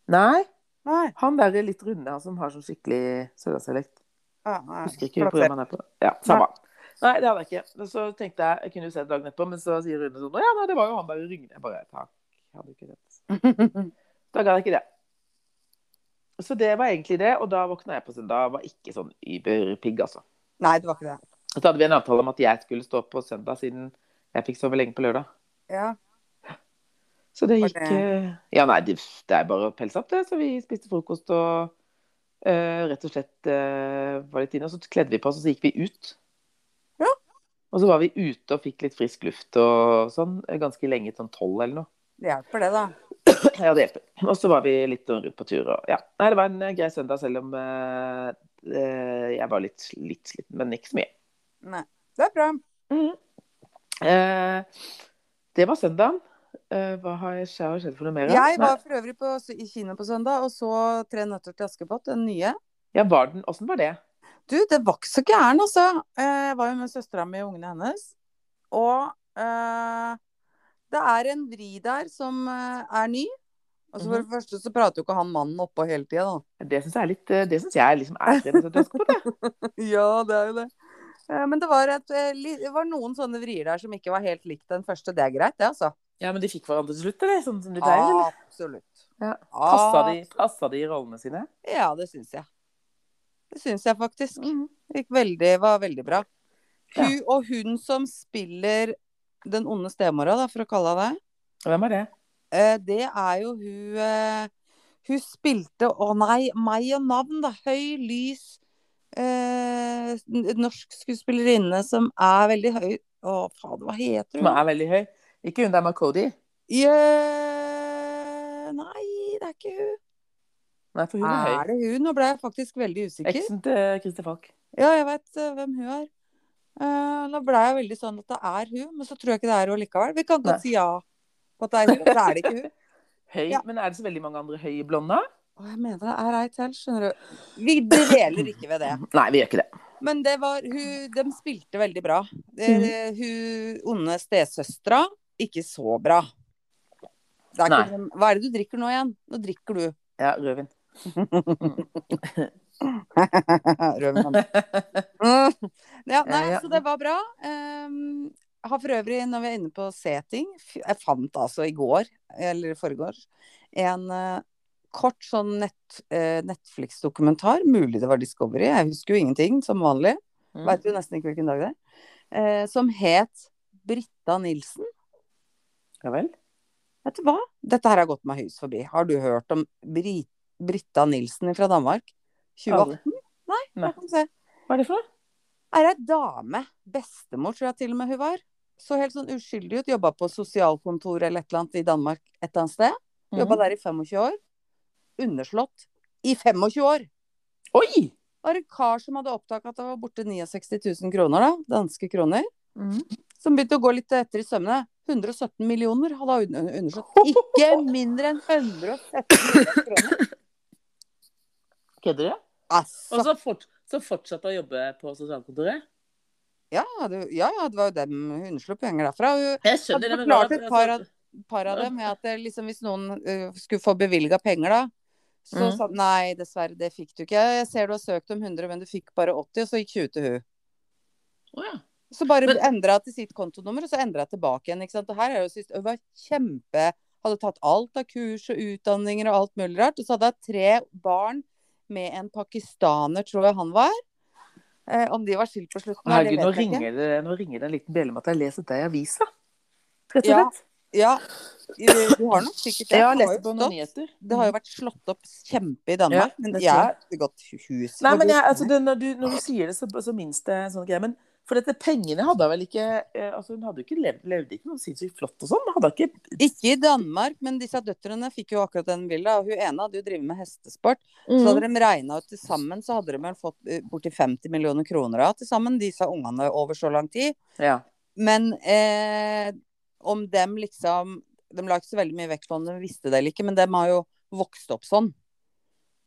Speaker 1: Nei,
Speaker 2: Nei.
Speaker 1: han der litt runde, han som har sånn skikkelig sørlandsdialekt.
Speaker 2: Ja, nei.
Speaker 1: Husker ikke programmet han er på. Ja, samme. Nei, det hadde jeg ikke. Så tenkte jeg, jeg kunne jo se det dagen etterpå, men så sier Rune sånn, «Å ja, nei, det var jo han der (laughs) i Rygne. Jeg bare, takk, jeg hadde ikke rett. Da ga jeg ikke det. Så det var egentlig det, og da våkna jeg på søndag. Jeg var ikke sånn überpigg, altså.
Speaker 2: Nei, det var ikke det.
Speaker 1: Så hadde vi en avtale om at jeg skulle stå på søndag, siden jeg fikk sove lenge på lørdag.
Speaker 2: Ja.
Speaker 1: Så det
Speaker 2: Var
Speaker 1: gikk
Speaker 2: det-
Speaker 1: eh, Ja, nei, det, det er bare å pelse opp, det. Så vi spiste frokost og eh, rett og slett eh, var litt inne. Og så kledde vi på oss, og så gikk vi ut.
Speaker 2: Ja.
Speaker 1: Og så var vi ute og fikk litt frisk luft og sånn eh, ganske lenge, sånn tolv eller noe.
Speaker 2: Det hjelper, det, da.
Speaker 1: Ja, det hjelper. Og så var vi litt sånn rundt på tur og ja. Nei, det var en eh, grei søndag, selv om eh, eh, jeg var litt, litt sliten, men ikke så mye.
Speaker 2: Nei. Det er bra. Mm.
Speaker 1: Eh, det var søndagen. Eh, hva har jeg skjedd skjedd for noe mer? da?
Speaker 2: Jeg
Speaker 1: Nei.
Speaker 2: var for øvrig på, i kino på søndag og så 'Tre nøtter til Askepott', den nye.
Speaker 1: Ja, var den, Åssen var det?
Speaker 2: Du, det var ikke så gæren, altså. Eh, Jeg var jo med søstera mi og ungene hennes. Og eh, det er en vri der som eh, er ny. Altså For det første så prater jo ikke han mannen oppå hele tida, da.
Speaker 1: Det syns jeg er litt Det synes jeg liksom er tre minutter raskere på det.
Speaker 2: (laughs) ja, det er jo det. Eh, Men det var, et, eh, li- det var noen sånne vrier der som ikke var helt likt den første. Det er greit, det, altså.
Speaker 1: Ja, men de fikk hverandre til slutt, eller? Sånn som de pleier? eller?
Speaker 2: Absolutt.
Speaker 1: Ja. Passa
Speaker 2: Ah,
Speaker 1: de, passa de i rollene sine?
Speaker 2: ja, det syns jeg. Det syns jeg faktisk. Det gikk veldig, var veldig bra.
Speaker 1: Ja.
Speaker 2: Hun og hun som spiller den onde stemora, da, for å kalle henne det,
Speaker 1: Hvem er det?
Speaker 2: eh, det er jo hun eh, Hun spilte Å nei, meg og navn, da. Høy, lys eh, n- Norsk skuespillerinne som er veldig høy Å, faen, hva heter
Speaker 1: Som
Speaker 2: hun?
Speaker 1: er veldig høy? Ikke hun der med Cody?
Speaker 2: Jø- Nei, det er ikke hun.
Speaker 1: Nei, for hun er høy.
Speaker 2: Er det hun? Nå ble jeg faktisk veldig usikker.
Speaker 1: Eksen til Christer Falk.
Speaker 2: Ja, jeg veit hvem hun er. Eh, nå blei jeg veldig sånn at det er hun, men så tror jeg ikke det er hun likevel. Vi kan
Speaker 1: Nei.
Speaker 2: godt si ja på at det er hun, så er det ikke hun.
Speaker 1: Høy,
Speaker 2: Ja.
Speaker 1: Men er det så veldig mange andre høye blonde?
Speaker 2: (laughs) Å, jeg mener det er ei til, skjønner du. Vi dveler ikke ved det.
Speaker 1: Mm. Nei, vi gjør ikke det.
Speaker 2: Men det var hun De spilte veldig bra. Eh, hun onde stesøstera, ikke så bra. Det er ikke, sånn- hva er det du drikker nå igjen? Nå drikker du
Speaker 1: Ja, rødvin.
Speaker 2: (laughs)
Speaker 1: (laughs)
Speaker 2: Rødvin. Mm.
Speaker 1: Ja,
Speaker 2: ja, nei,
Speaker 1: ja.
Speaker 2: så det var bra. Um, har for øvrig, når vi er inne på C-ting f- Jeg fant altså i går, eller i forgår, en eh, kort sånn nett, eh, Netflix-dokumentar. Mulig det var Discovery, jeg husker jo ingenting, som vanlig.
Speaker 1: Mm.
Speaker 2: Veit jo nesten ikke hvilken dag det er. Eh, som het Britta Nilsen.
Speaker 1: Ja vel?
Speaker 2: Vet du hva? Dette her har gått meg hus forbi. Har du hørt om Bri Britta Nilsen fra Danmark? 2018?
Speaker 1: Aldri.
Speaker 2: Nei,
Speaker 1: Nei.
Speaker 2: jeg kan se.
Speaker 1: Hva er det for noe?
Speaker 2: Er ei dame. Bestemor, tror jeg til og med hun var. Så helt sånn uskyldig ut. Jobba på sosialkontor eller et eller annet i Danmark et eller annet sted.
Speaker 1: Mhm. Mm.
Speaker 2: Jobba der i 25 år. Underslått i 25 år!
Speaker 1: Oi!
Speaker 2: Det var en kar som hadde oppdaga at det var borte 69 000 kroner, da. Danske kroner. Mm. som begynte å gå litt etter i sømmene. 117 millioner hadde hun un- undersøkt. Ikke mindre enn 117 millioner kroner.
Speaker 1: Kødder du? Og
Speaker 2: Altså,
Speaker 1: så, fort, så fortsatte å jobbe på sosialkontoret?
Speaker 2: ja, det, ja, ja, det var jo dem hun slapp penger derfra. Og hun-
Speaker 1: Jeg
Speaker 2: skjønner
Speaker 1: skjønner
Speaker 2: det,
Speaker 1: det,
Speaker 2: men
Speaker 1: men altså-
Speaker 2: hva- Forklart et par av- et par av dem er at det, liksom, hvis noen eh, skulle få bevilga penger, da, så
Speaker 1: Mhm.
Speaker 2: sa de nei, dessverre, det fikk du ikke. Jeg ser du har søkt om 100, men du fikk bare 80, og så gikk 20 til hun. Så bare
Speaker 1: Men-
Speaker 2: endra jeg til sitt kontonummer, og så endra jeg tilbake igjen. ikke sant? Og her er jo sist, Hun var kjempe Hadde tatt alt av kurs og utdanninger og alt mulig rart. Og så hadde jeg tre barn med en pakistaner, tror jeg han var. Eh, om de var skilt på slutten, nei,
Speaker 1: Herregud, nå
Speaker 2: jeg ikke.
Speaker 1: ringer, det, nå ringer det en liten bjelle med at jeg har lest dette i avisa. Rett og
Speaker 2: Ja,
Speaker 1: slett.
Speaker 2: Ja, i- du har nok sikkert det.
Speaker 1: jeg har
Speaker 2: Det har
Speaker 1: lest
Speaker 2: jo
Speaker 1: på noen
Speaker 2: stått-
Speaker 1: nyheter.
Speaker 2: Det har jo vært slått opp kjempe i Danmark,
Speaker 1: Ja,
Speaker 2: men
Speaker 1: det
Speaker 2: jeg
Speaker 1: tror
Speaker 2: har
Speaker 1: jeg.
Speaker 2: ikke gått hus.
Speaker 1: Nei, men jeg, altså, det, når, du, når du sier det, så, så minnes det en sånn greie. Men for dette pengene hadde hun vel ikke eh, altså Hun hadde jo ikke levd, levde ikke noe sinnssykt flott og sånn. men Hadde hun ikke
Speaker 2: Ikke i Danmark, men disse døtrene fikk jo akkurat den villa. Og hun ene hadde jo drevet med hestesport. Så
Speaker 1: Mhm.
Speaker 2: hadde de regna ut til sammen, så hadde de vel fått eh, borti 50 millioner kroner av til sammen, disse ungene over så lang tid.
Speaker 1: ja.
Speaker 2: Men eh, om dem liksom De la ikke så veldig mye vekt på om de visste det eller ikke, men dem har jo vokst opp sånn.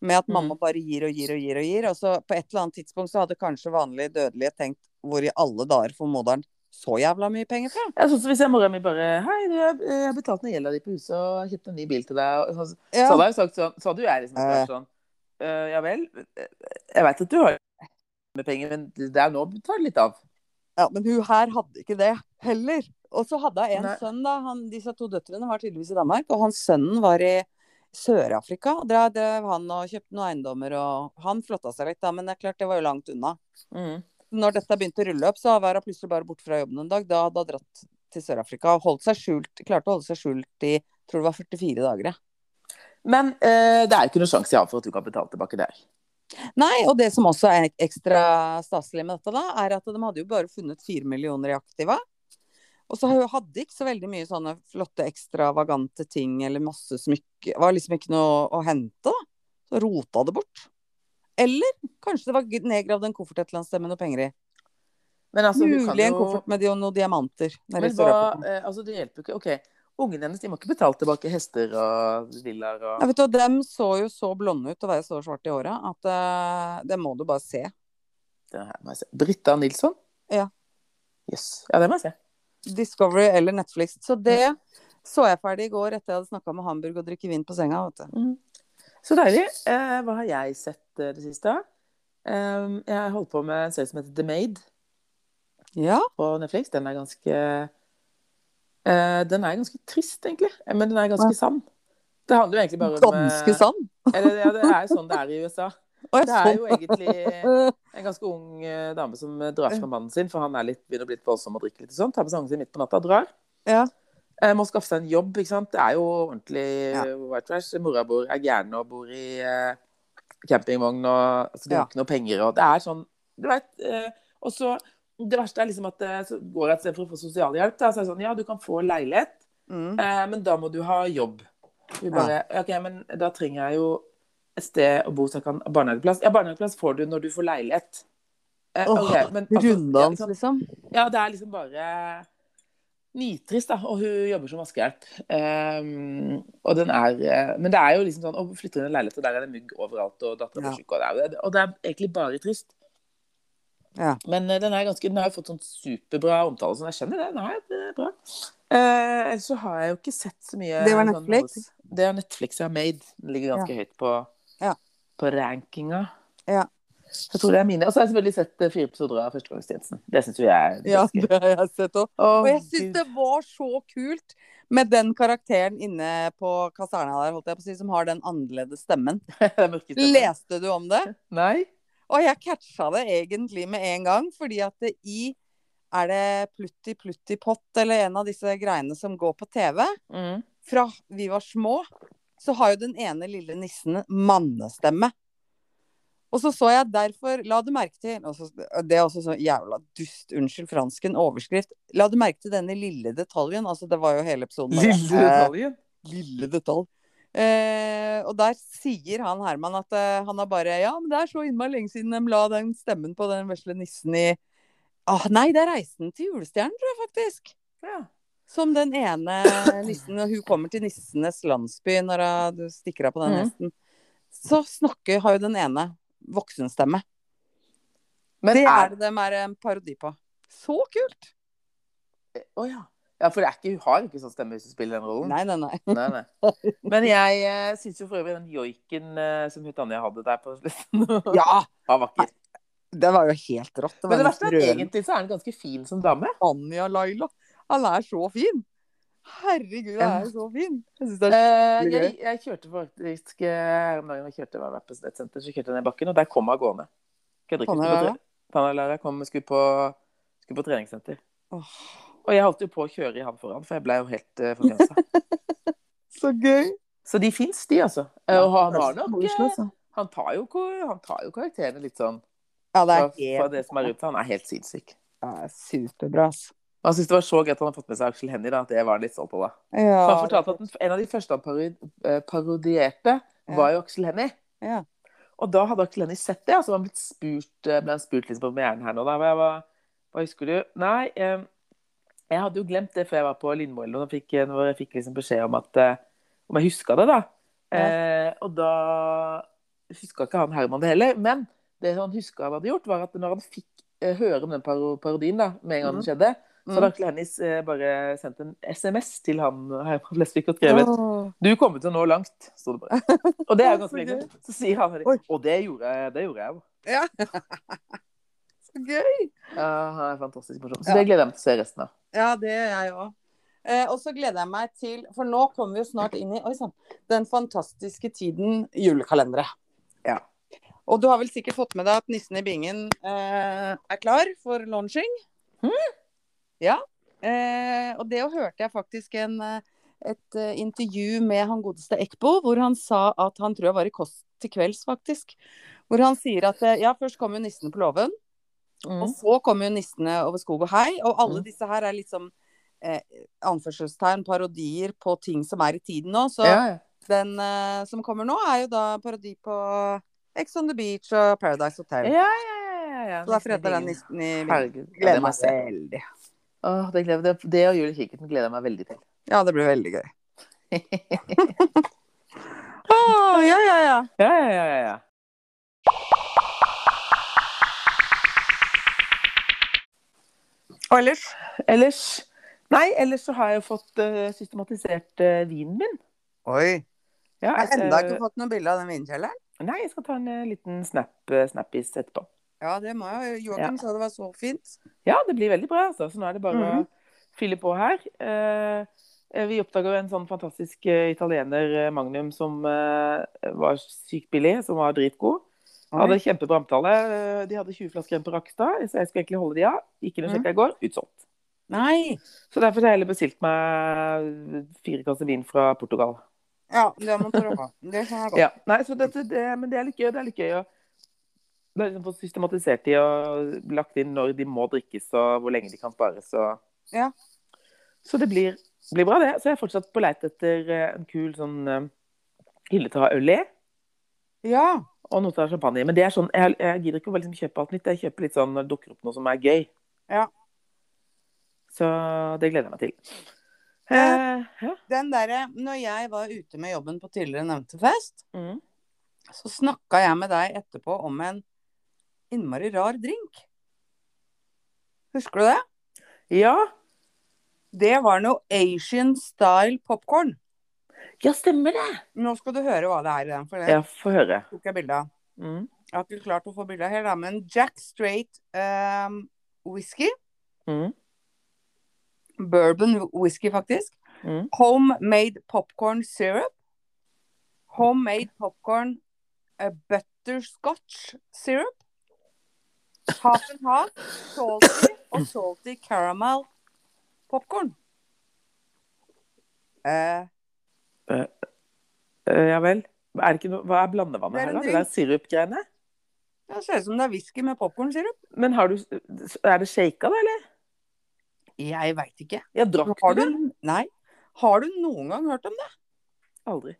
Speaker 2: Med at mamma
Speaker 1: Mm.
Speaker 2: bare gir og gir og gir og gir. Og så på et eller annet tidspunkt så hadde kanskje vanlig dødelige tenkt hvor i alle dager får moderen så jævla mye penger fra?
Speaker 1: Jeg synes Hvis jeg mora mi bare Hei, du, jeg, jeg har betalt ned gjelda di på huset og jeg kjøpte en ny bil til deg. Og, så, så
Speaker 2: Ja.
Speaker 1: hadde jeg jo sagt sånn Så hadde jo jeg liksom
Speaker 2: Eh.
Speaker 1: vært sånn «Eh, Ja vel, eh, jeg veit at du har med penger, men det er nå du tar det litt av.
Speaker 2: Ja, men hun her hadde ikke det heller. Og så hadde hun en
Speaker 1: Nei.
Speaker 2: sønn, da. Han, disse to døtrene var tydeligvis i Danmark, og hans sønnen var i Sør-Afrika. Der drev han og kjøpte noen eiendommer, og han flotta seg litt da, men det er klart det var jo langt unna.
Speaker 1: Mm.
Speaker 2: Når dette begynte å rulle opp, så var hun plutselig bare borte fra jobben en dag. Da hadde hun dratt til Sør-Afrika og holdt seg skjult, klarte å holde seg skjult i tror det var 44 dager. jeg.
Speaker 1: Men eh, det er jo ikke noen sjanse jeg har for at du kan betale tilbake der.
Speaker 2: Nei, og det som også er ekstra staselig med dette, da, er at de hadde jo bare funnet fire millioner i aktiva. Og så hadde de ikke så veldig mye sånne flotte, ekstravagante ting eller masse smykke. Det var liksom ikke noe å hente, da. Så rota det bort. Eller kanskje det var nedgravd en koffert et eller annet sted med noe penger i.
Speaker 1: Men altså, hun kan
Speaker 2: Mulig en
Speaker 1: jo-
Speaker 2: koffert med de- og noen diamanter. nede i
Speaker 1: Men hva,
Speaker 2: Sør-Afrika.
Speaker 1: eh, altså det hjelper jo ikke. Ok, ungene hennes de må ikke betale tilbake hester og villaer
Speaker 2: Ja,
Speaker 1: og
Speaker 2: vet du, hva, Dem så jo så blonde ut og være så svarte i håret at eh, det må du bare se.
Speaker 1: det her må jeg se. Britta Nilsson?
Speaker 2: Ja.
Speaker 1: Jøss. Ja, det må jeg se.
Speaker 2: Discovery eller Netflix. Så det så jeg ferdig i går etter jeg hadde snakka med Hamburg og drikke vin på senga. Vet du.
Speaker 1: Så deilig. Eh, hva har jeg sett eh, det siste? Eh, jeg holdt på med en serie som heter The Maid
Speaker 2: Ja,
Speaker 1: på Netflix. Den er ganske eh, Den er ganske trist, egentlig. Eh, Men den er ganske sann. Det handler jo egentlig bare om eh,
Speaker 2: ganske sann.
Speaker 1: Eller, ja, det er jo sånn det er i USA.
Speaker 2: Å,
Speaker 1: Det
Speaker 2: (laughs)
Speaker 1: er jo
Speaker 2: sånn.
Speaker 1: egentlig
Speaker 2: Eh,
Speaker 1: En ganske ung eh, dame som eh, drar fra mannen sin, for han er litt, begynner å bli litt voldsom og drikke litt og sånn. Tar med seg ungen sin midt på natta, drar.
Speaker 2: Ja.
Speaker 1: Eh, må skaffe seg en jobb, ikke sant. Det er jo ordentlig
Speaker 2: Ja.
Speaker 1: eh, white trash. Mora bor, er gæren og bor i eh, campingvogn, og altså, de har
Speaker 2: Ja.
Speaker 1: ikke noe penger, og det er sånn Du veit. Eh, og så Det verste er liksom at eh, så går jeg et sted for å få sosialhjelp, da, så er det sånn Ja, du kan få leilighet,
Speaker 2: Mm.
Speaker 1: eh, men da må du ha jobb. Vi bare OK, men da trenger jeg jo et sted å bo så jeg kan ha barnehageplass. Ja, barnehageplass får du når du får leilighet. Eh,
Speaker 2: Åh,
Speaker 1: ok, men altså, ja,
Speaker 2: Runddans,
Speaker 1: ikke sant?
Speaker 2: liksom.
Speaker 1: Ja, det er liksom bare nitrist, da. Og hun jobber som vaskehjelp. Ehm, og den er eh, Men det er jo liksom sånn Å, flytter inn i en leilighet, og der er det mugg overalt, og dattera
Speaker 2: Ja.
Speaker 1: blir sjuk, og det er Og det er egentlig bare trist.
Speaker 2: Ja.
Speaker 1: Men eh, den, er ganske, den har jo fått sånn superbra omtale, så jeg skjønner det. Den er eh, bra. Eh, ellers så har jeg jo ikke sett så mye
Speaker 2: Det var
Speaker 1: sånn-
Speaker 2: Netflix?
Speaker 1: det er Netflix jeg har made. Den ligger ganske høyt på,
Speaker 2: Ja.
Speaker 1: på rankinga.
Speaker 2: Ja.
Speaker 1: Så jeg tror det er mine. Og så har jeg selvfølgelig sett eh, fire episoder av Førstegangstjenesten. Det syns jo jeg er det
Speaker 2: ja,
Speaker 1: beste.
Speaker 2: det har jeg sett òg.
Speaker 1: Å,
Speaker 2: Og jeg
Speaker 1: Gud.
Speaker 2: syns det var så kult med den karakteren inne på kaserna der, holdt jeg på å si, som har den annerledes stemmen.
Speaker 1: (laughs) Det er mørke stemmer.
Speaker 2: Leste du om det?
Speaker 1: Nei?
Speaker 2: Og jeg catcha det egentlig med en gang, fordi at det i Er det Plutti Plutti Pott, eller en av disse greiene som går på TV?
Speaker 1: Mm.
Speaker 2: Fra vi var små, så har jo den ene lille nissen mannestemme. Og så så jeg derfor La du merke til og så, Det er også så jævla dust, unnskyld fransken, overskrift. La du merke til denne lille detaljen? Altså, det var jo hele episoden. bare, eh,
Speaker 1: Lille detaljen.
Speaker 2: lille detalj. Eh, og der sier han Herman at eh, han har bare Ja, men det er så innmari lenge siden de la den stemmen på den vesle nissen i ah, Nei, det er Reisen til julestjernen, tror jeg faktisk.
Speaker 1: Ja.
Speaker 2: Som den ene nissen og Hun kommer til nissenes landsby når hun du stikker av på den
Speaker 1: Mhm.
Speaker 2: hesten. Så snakker har jo den ene voksenstemme.
Speaker 1: Men
Speaker 2: det er
Speaker 1: er
Speaker 2: det de er en parodi på. Så kult!
Speaker 1: det Å ja. ja. For det er ikke, hun har ikke sånn stemme hvis hun spiller den rollen.
Speaker 2: Nei, nei, nei.
Speaker 1: Nei, nei. Men jeg uh, syns jo for øvrig den joiken eh, som hun Tanja hadde der på slutten, (laughs)
Speaker 2: Ja!
Speaker 1: var vakker.
Speaker 2: Det var jo helt rått.
Speaker 1: Men det
Speaker 2: nesten
Speaker 1: verste er at
Speaker 2: rørende.
Speaker 1: egentlig så er den ganske fin som dame.
Speaker 2: Anja Laila. Han er så fin! Herregud, han er jo så fin! Jeg synes det er
Speaker 1: Eh,
Speaker 2: Veldig
Speaker 1: jeg, jeg kjørte faktisk eh, her om dagen, jeg kjørte, jeg var på et senter, så kjørte jeg ned bakken, og der kom hun gående. Kødder ikke.
Speaker 2: Tanja Lara?
Speaker 1: Tanja-lærer kom skulle på, skulle på treningssenter.
Speaker 2: Åh,
Speaker 1: Og jeg holdt jo på å kjøre i han foran, for jeg ble jo helt uh, forkrensa.
Speaker 2: (laughs) så gøy!
Speaker 1: Så de fins, de, altså. Eh, Og han har nok
Speaker 2: Koselig,
Speaker 1: eh,
Speaker 2: altså.
Speaker 1: han tar, jo, ko- han tar jo karakterene litt sånn
Speaker 2: Ja, det
Speaker 1: fra,
Speaker 2: er
Speaker 1: fra
Speaker 2: helt
Speaker 1: det som er rundt. Han er helt sinnssyk.
Speaker 2: ja, superbra, altså.
Speaker 1: Og Han syntes det var så gøy at han har fått med seg Aksel Hennie, da, at det var han litt stolt av. da.
Speaker 2: Ja,
Speaker 1: For han fortalte at den, en av de første han parodi, eh, parodierte, var jo Aksel Hennie.
Speaker 2: Ja.
Speaker 1: Og da hadde Aksel Hennie sett det, og så var han blitt spurt, eh, ble han spurt liksom på premieren her nå. Da, hvor jeg var, hva husker du? Nei, eh, jeg hadde jo glemt det før jeg var på Lindmo eller noe, og fikk, når jeg fikk liksom beskjed om at eh, Om jeg huska det, da. Eh, og da huska ikke han Herman det heller. Men det han huska han hadde gjort, var at når han fikk eh, høre om den paro parodien da, med en gang
Speaker 2: Mhm.
Speaker 1: det skjedde, så hadde
Speaker 2: Mm.
Speaker 1: Aksel Hennie eh, bare sendt en SMS til han Herman Flesvig og skrevet
Speaker 2: Åh,
Speaker 1: 'Du kommer til å nå langt', sto det bare. Og (laughs) det er jo ganske
Speaker 2: Så
Speaker 1: lenge. Så sier han
Speaker 2: Oi.
Speaker 1: Og det gjorde, jeg- det gjorde jeg jo.
Speaker 2: så gøy!
Speaker 1: Ja, han er fantastisk morsom. Så
Speaker 2: Ja.
Speaker 1: det gleder jeg meg til å se resten av.
Speaker 2: Ja, det er jeg òg. Eh, og så gleder jeg meg til For nå kommer vi jo snart inn i oi, sann, den fantastiske tiden julekalendere.
Speaker 1: Ja.
Speaker 2: Og du har vel sikkert fått med deg at nissen i bingen eh, er klar for launching? Ja. Eh, og det hørte jeg faktisk en, eh, et eh, intervju med han godeste Ekbo, hvor han sa at han tror jeg var i Kåss til kvelds, faktisk. Hvor han sier at eh, ja, først kom jo nissen på låven. Og så kommer jo nissene over skog og hei, og alle
Speaker 1: Mm.
Speaker 2: disse her er liksom eh, anførselstegn, parodier på ting som er i tiden nå. Så
Speaker 1: Ja, ja.
Speaker 2: den eh, som kommer nå, er jo da parodi på Ex on the Beach og Paradise Hotel.
Speaker 1: Ja, ja, ja, ja, ja.
Speaker 2: Så derfor heter den
Speaker 1: Nissen
Speaker 2: nissen i
Speaker 1: i bingen.
Speaker 2: bingen.
Speaker 1: Herregud. ja,
Speaker 2: Gleder
Speaker 1: det må jeg
Speaker 2: meg
Speaker 1: se.
Speaker 2: veldig.
Speaker 1: Åh, det, gleder, det, det og julekikkerten gleder jeg meg veldig til.
Speaker 2: Ja, det blir veldig
Speaker 1: (laughs)
Speaker 2: gøy. Å, ja, ja, ja.
Speaker 1: Ja, ja, ja, ja, ja.
Speaker 2: Og ellers?
Speaker 1: Ellers Nei, ellers så har jeg jo fått eh, systematisert eh, vinen min.
Speaker 2: Oi.
Speaker 1: Ja,
Speaker 2: Jeg har
Speaker 1: jeg-
Speaker 2: enda ikke fått noe bilde av den vinkjelleren.
Speaker 1: Nei, jeg skal ta en eh, liten snap, eh, snappis etterpå.
Speaker 2: Ja, det må jeg jo. Joakim sa det var så fint.
Speaker 1: Ja, det blir veldig bra. Altså. Så nå er det bare
Speaker 2: Mhm.
Speaker 1: å fylle på her. Eh, vi oppdaga en sånn fantastisk eh, italiener, eh, Magnum, som eh, var sykt billig, som var dritgod. Hadde kjempebra omtale. Eh, De hadde 20 flasker igjen på Rakstad, så jeg skulle egentlig holde de av. Gikk inn og sjekka i går, utsolgt.
Speaker 2: Nei.
Speaker 1: Så derfor har jeg heller bestilt meg fire kasser vin fra Portugal.
Speaker 2: Ja, det må du prøve. Det skjønner jeg godt.
Speaker 1: Ja, nei, så dette, det, men det er litt gøy. Det er litt gøy å det er liksom få systematisert de og lagt inn når de må drikkes og hvor lenge de kan spares. Og...
Speaker 2: Ja.
Speaker 1: Så det blir, blir bra, det. Så jeg er fortsatt på leit etter eh, en kul sånn eh, hylle til å ha øl i.
Speaker 2: Ja.
Speaker 1: Og noe til å ha champagne i. Men det er sånn, jeg, jeg gidder ikke å liksom kjøpe alt nytt. Jeg kjøper litt sånn når det dukker opp noe som er gøy.
Speaker 2: Ja.
Speaker 1: Så det gleder jeg meg til.
Speaker 2: Ja.
Speaker 1: Eh, ja.
Speaker 2: den derre Når jeg var ute med jobben på tidligere nevnte fest,
Speaker 1: Mm.
Speaker 2: så snakka jeg med deg etterpå om en innmari rar drink. Husker du det?
Speaker 1: ja.
Speaker 2: Det var noe Asian style popcorn.
Speaker 1: Ja, stemmer det.
Speaker 2: Nå skal du høre hva det er i den, for det
Speaker 1: Ja, få høre.
Speaker 2: tok jeg bilde av.
Speaker 1: Mm.
Speaker 2: Jeg har ikke klart å få bilde av hele, da, men Jack Straight um, whisky.
Speaker 1: Mm.
Speaker 2: Bourbon whisky, faktisk.
Speaker 1: Mm.
Speaker 2: Homemade popcorn syrup. Homemade popcorn eh, butterscotch syrup. Half and half, salty og salty caramel popcorn. Eh,
Speaker 1: Eh, Ja vel. Er det ikke noe, hva er blandevannet
Speaker 2: Det er
Speaker 1: her,
Speaker 2: en
Speaker 1: da? Det der sirupgreiene?
Speaker 2: det ser ut som det er whisky med popcornsirup.
Speaker 1: Men har du, er det shaka, da, eller?
Speaker 2: Jeg veit ikke.
Speaker 1: Jeg drakk
Speaker 2: Har du,
Speaker 1: det
Speaker 2: nei. Har du noen gang hørt om det?
Speaker 1: aldri.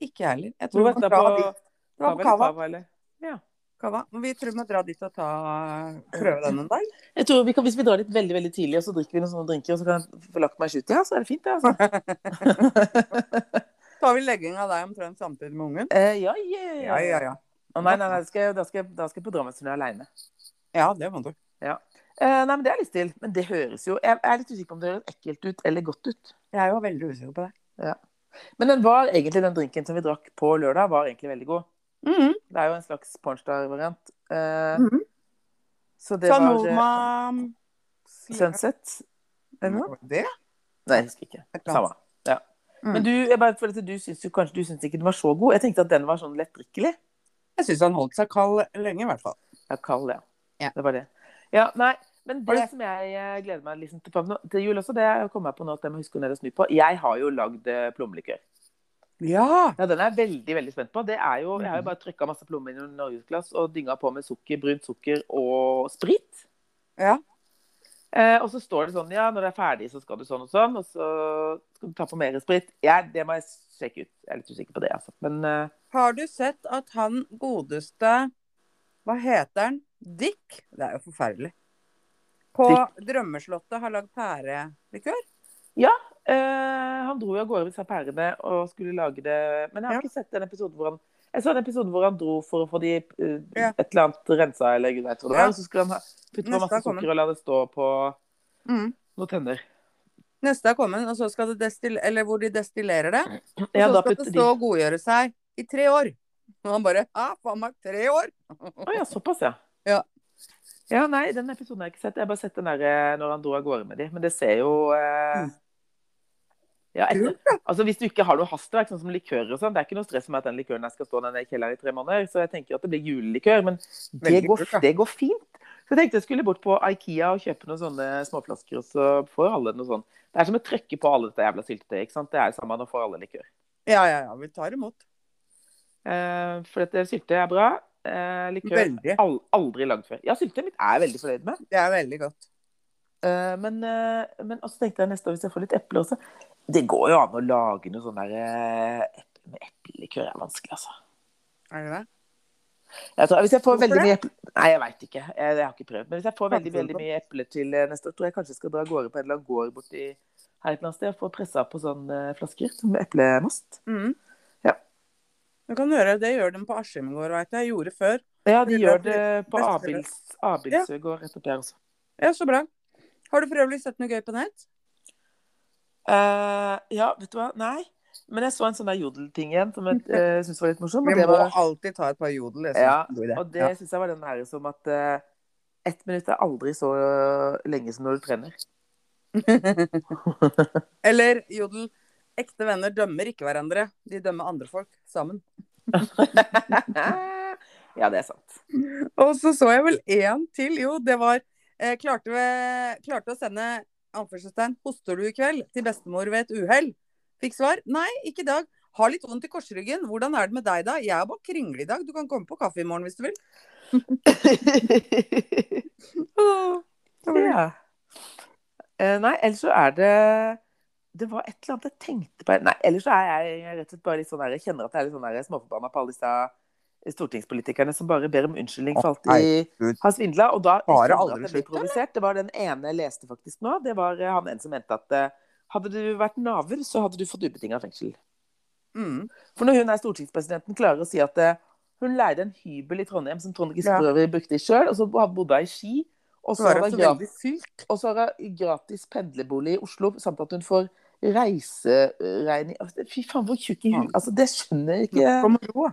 Speaker 2: Ikke jeg heller. Jeg
Speaker 1: Hvor
Speaker 2: tror
Speaker 1: var
Speaker 2: vi må
Speaker 1: det
Speaker 2: dra
Speaker 1: på
Speaker 2: dit. Det var på
Speaker 1: Kava,
Speaker 2: Kava.
Speaker 1: Kava, eller?
Speaker 2: Kava. Eh, Men Vi tror vi må dra dit og ta, prøve den en dag.
Speaker 1: Jeg tror vi kan, Hvis vi drar dit veldig veldig tidlig, og så drikker vi noen sånne drinker, og så kan jeg få lagt meg i skjutida, så er det altså. fint, det. altså.
Speaker 2: (laughs) Så har vi legging av deg omtrent samtidig med ungen.
Speaker 1: Eh, ja, ja,
Speaker 2: Ja, ja, ja.
Speaker 1: Å, nei, nei, nei, da skal jeg, da skal jeg, da skal jeg på Drammensturné aleine.
Speaker 2: Ja, det må du.
Speaker 1: Eh, nei, men det har jeg lyst til. Men det høres jo Jeg, jeg er litt usikker på om det høres ekkelt ut eller godt ut.
Speaker 2: Jeg er jo veldig usikker på det.
Speaker 1: Men den var egentlig, den drinken som vi drakk på lørdag, var egentlig veldig god.
Speaker 2: Mm.
Speaker 1: Det er jo en slags pornstar-variant. Eh,
Speaker 2: Mhm.
Speaker 1: Så det var eh,
Speaker 2: Sanoma
Speaker 1: Sunset? Eller noe?
Speaker 2: Det?
Speaker 1: Nei, jeg husker ikke.
Speaker 2: Et eller annet.
Speaker 1: Samme. Ja.
Speaker 2: Mm.
Speaker 1: Men du, jeg bare føler at du syns jo kanskje du syns ikke den var så god. Jeg tenkte at den var sånn lettdrikkelig.
Speaker 2: Jeg syns han holdt seg kald lenge, i hvert fall.
Speaker 1: Ja, kald, ja.
Speaker 2: Ja.
Speaker 1: Det var det. Ja, nei, men
Speaker 2: Var
Speaker 1: det
Speaker 2: det-
Speaker 1: som jeg eh, gleder meg liksom til, på nå- til jul også, det kommer jeg på nå at jeg må huske å ned og snu på. Jeg har jo lagd eh, plommelikør.
Speaker 2: Ja!
Speaker 1: Ja, den er jeg veldig veldig spent på. Det er jo, Jeg har
Speaker 2: Mm.
Speaker 1: jo bare trykka masse plommer i noen norgesglass og dynga på med sukker, brunt sukker og sprit.
Speaker 2: Ja.
Speaker 1: Eh, og så står det sånn ja, når det er ferdig, så skal du sånn og sånn. Og så skal du ta på mer sprit. Ja, det må jeg sjekke ut. Jeg er litt usikker på det, altså. Men eh,
Speaker 2: Har du sett at han godeste Hva heter han? Dick? Det er jo forferdelig. På Drømmeslottet har lagd pærelikør.
Speaker 1: eh, han dro jo av gårde med disse pærene og skulle lage det Men jeg har
Speaker 2: Ja.
Speaker 1: ikke sett den episoden hvor han jeg så en episode hvor han dro for å få de eh,
Speaker 2: Ja.
Speaker 1: et eller annet rensa, eller gud vet hva det var.
Speaker 2: Ja.
Speaker 1: Og så skulle han ha- putte på
Speaker 2: Neste
Speaker 1: masse
Speaker 2: er kommet.
Speaker 1: sukker og la det stå på
Speaker 2: Mm.
Speaker 1: noen tenner.
Speaker 2: Neste er kommet, og så skal det destill... Eller hvor de destillerer det. Og
Speaker 1: Ja,
Speaker 2: så
Speaker 1: da
Speaker 2: skal det
Speaker 1: putter de-
Speaker 2: stå og godgjøre seg i tre år. Og han bare Ja, faen meg,
Speaker 1: (laughs)
Speaker 2: tre år!
Speaker 1: Å ja, såpass, ja.
Speaker 2: Ja.
Speaker 1: Ja, nei, den episoden har jeg ikke sett. Jeg har bare sett den der eh, når han dro av gårde med de. Men det ser jo eh,
Speaker 2: Mm.
Speaker 1: Ja, etter, altså Hvis du ikke har noe hastverk, sånn som likører og sånn, det er ikke noe stress med at den likøren her skal stå nede i kjelleren i tre måneder. Så jeg tenker at det blir julelikør. Men det
Speaker 2: Veldig
Speaker 1: går,
Speaker 2: kult, da.
Speaker 1: det går fint. Så jeg tenkte jeg skulle bort på Ikea og kjøpe noen sånne småflasker, og så får alle noe sånn. Det er som å trykke på alle dette jævla syltetøyet, ikke sant. Det er det samme, nå får alle likør.
Speaker 2: Ja, ja, ja. Vi tar imot.
Speaker 1: Eh, for dette syltetøyet er bra. Eh, likør
Speaker 2: Veldig.
Speaker 1: al aldri lagd før. Ja, syltetøyet mitt er jeg veldig fornøyd med.
Speaker 2: Det er veldig godt.
Speaker 1: Eh, men, eh, men også tenkte jeg neste år, hvis jeg får litt eple også Det går jo an å lage noe sånn der eh, eple, men Eplelikør er vanskelig, altså.
Speaker 2: Er det det?
Speaker 1: Jeg tror, hvis jeg får
Speaker 2: Hvorfor
Speaker 1: veldig mye eple... Nei, jeg veit ikke. Jeg, jeg har ikke prøvd. Men hvis jeg får veldig
Speaker 2: Kanskje
Speaker 1: veldig
Speaker 2: det.
Speaker 1: mye epler til eh, neste år, tror jeg kanskje jeg skal dra av gårde på en eller annen gård borti her et eller annet sted og få pressa på sånne eh, flasker som eplemost.
Speaker 2: Mhm.
Speaker 1: Mm. Ja.
Speaker 2: Du kan høre, det gjør de på Askim gård, veit jeg. Jeg gjorde før.
Speaker 1: Ja, de
Speaker 2: Det
Speaker 1: gjør
Speaker 2: blir
Speaker 1: det på
Speaker 2: best for
Speaker 1: Abils, Abildsø gård rett oppi her også.
Speaker 2: Ja, så bra. Har du for øvrig sett noe gøy på nett?
Speaker 1: Eh, ja, vet du hva? Nei. Men jeg så en sånn der jodelting igjen som jeg uh, syntes var litt morsom.
Speaker 2: Vi
Speaker 1: og det
Speaker 2: må
Speaker 1: var-
Speaker 2: alltid ta et par jodel. jeg synes
Speaker 1: Ja,
Speaker 2: det er en god idé.
Speaker 1: Og det
Speaker 2: Ja.
Speaker 1: synes syns jeg var den her som at eh, ett minutt er aldri så eh, lenge som når du trener. (laughs)
Speaker 2: Eller jodel. Ekte venner dømmer ikke hverandre. De dømmer andre folk sammen.
Speaker 1: ja, det er sant.
Speaker 2: Og så så jeg vel én til. Jo, det var eh, klarte, vi, klarte å sende anførselstegn 'Hoster du i kveld?' til bestemor ved et uhell. Fikk svar. Nei, ikke i dag. Har litt vondt i korsryggen. Hvordan er det med deg da? Jeg er bare kringle i dag. Du kan komme på kaffe i morgen hvis du vil.
Speaker 1: ja. Eh, nei, ellers så er det Det var et eller annet jeg tenkte på Nei, ellers så er jeg rett og slett bare litt sånn der Jeg kjenner at jeg er litt sånn der småforbanna på alle disse eh, stortingspolitikerne som bare ber om unnskyldning for alt de
Speaker 2: herregud.
Speaker 1: har svindla. Og da
Speaker 2: Har det
Speaker 1: kjenner jeg at
Speaker 2: aldri
Speaker 1: jeg blir
Speaker 2: slutt,
Speaker 1: provosert. Det var den ene jeg leste faktisk nå. Det var eh, han en som mente at eh, hadde du vært naver, så hadde du fått ubetinga fengsel.
Speaker 2: Mm.
Speaker 1: For når hun er stortingspresidenten, klarer å si at eh, hun leide en hybel i Trondheim som Trond Giske
Speaker 2: Ja.
Speaker 1: for øvrig brukte i sjøl, og så bodde hun i Ski. Og
Speaker 2: Så
Speaker 1: så
Speaker 2: var
Speaker 1: har
Speaker 2: det
Speaker 1: hun
Speaker 2: så
Speaker 1: gratis,
Speaker 2: veldig sykt.
Speaker 1: og så har hun gratis pendlerbolig i Oslo, samt at hun får reiseregning Altså, Fy faen, hvor tjukk i huet Altså, det skjønner jeg ikke.
Speaker 2: Kom og ro.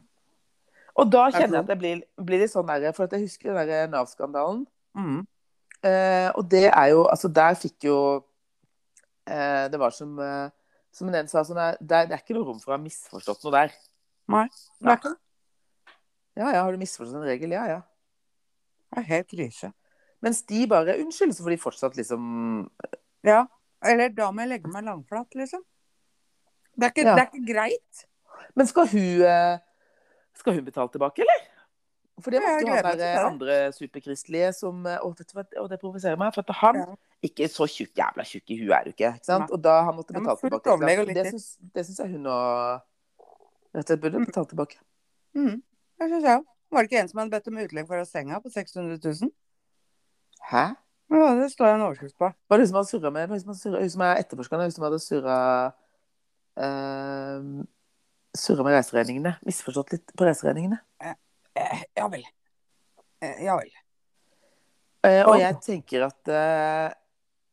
Speaker 1: Og da kjenner jeg at jeg blir, blir litt sånn der, for at jeg husker den der Nav-skandalen.
Speaker 2: Mm.
Speaker 1: Eh, og det er jo Altså, der fikk jo eh, Det var som eh, som den sa, sånn der, det, er, det er ikke noe rom for å ha misforstått noe der.
Speaker 2: Nei.
Speaker 1: Nei. Ja, ja, har du misforstått en regel? Ja, ja.
Speaker 2: Det er helt krise.
Speaker 1: Mens de bare Unnskyld, så får de fortsatt liksom
Speaker 2: Ja. Eller da må jeg legge meg langflat, liksom. Det er ikke,
Speaker 1: Ja.
Speaker 2: det er ikke greit.
Speaker 1: Men skal hun eh, Skal hun betale tilbake, eller? For det
Speaker 2: Ja,
Speaker 1: måtte
Speaker 2: jeg
Speaker 1: jo han
Speaker 2: gleder meg
Speaker 1: der eh,
Speaker 2: til
Speaker 1: andre superkristelige som eh, Å, vet du hva, og det provoserer meg. For at han
Speaker 2: Ja.
Speaker 1: Ikke så tjukk, jævla tjukk i huet er du ikke. ikke sant?
Speaker 2: Nei.
Speaker 1: Og da han måtte
Speaker 2: Ja, men
Speaker 1: betale
Speaker 2: fullt
Speaker 1: tilbake. ikke
Speaker 2: overlegg og
Speaker 1: sant?
Speaker 2: litt
Speaker 1: Det
Speaker 2: til.
Speaker 1: syns, det syns jeg hun og Rett og slett burde betale tilbake.
Speaker 2: Mm. Det synes jeg òg. Var det ikke en som hadde bedt om utlegg fra senga på 600 000?
Speaker 1: Hæ?
Speaker 2: Ja, det står jeg en overskrift på.
Speaker 1: Var det hun som hadde surra med var det hun som hadde surret- Hun som er etterforskeren, hun som hadde surra eh, Surra med reiseregningene. Misforstått litt på reiseregningene.
Speaker 2: Eh, ja vel. Eh, ja vel.
Speaker 1: Eh, og
Speaker 2: Åh.
Speaker 1: jeg tenker at eh,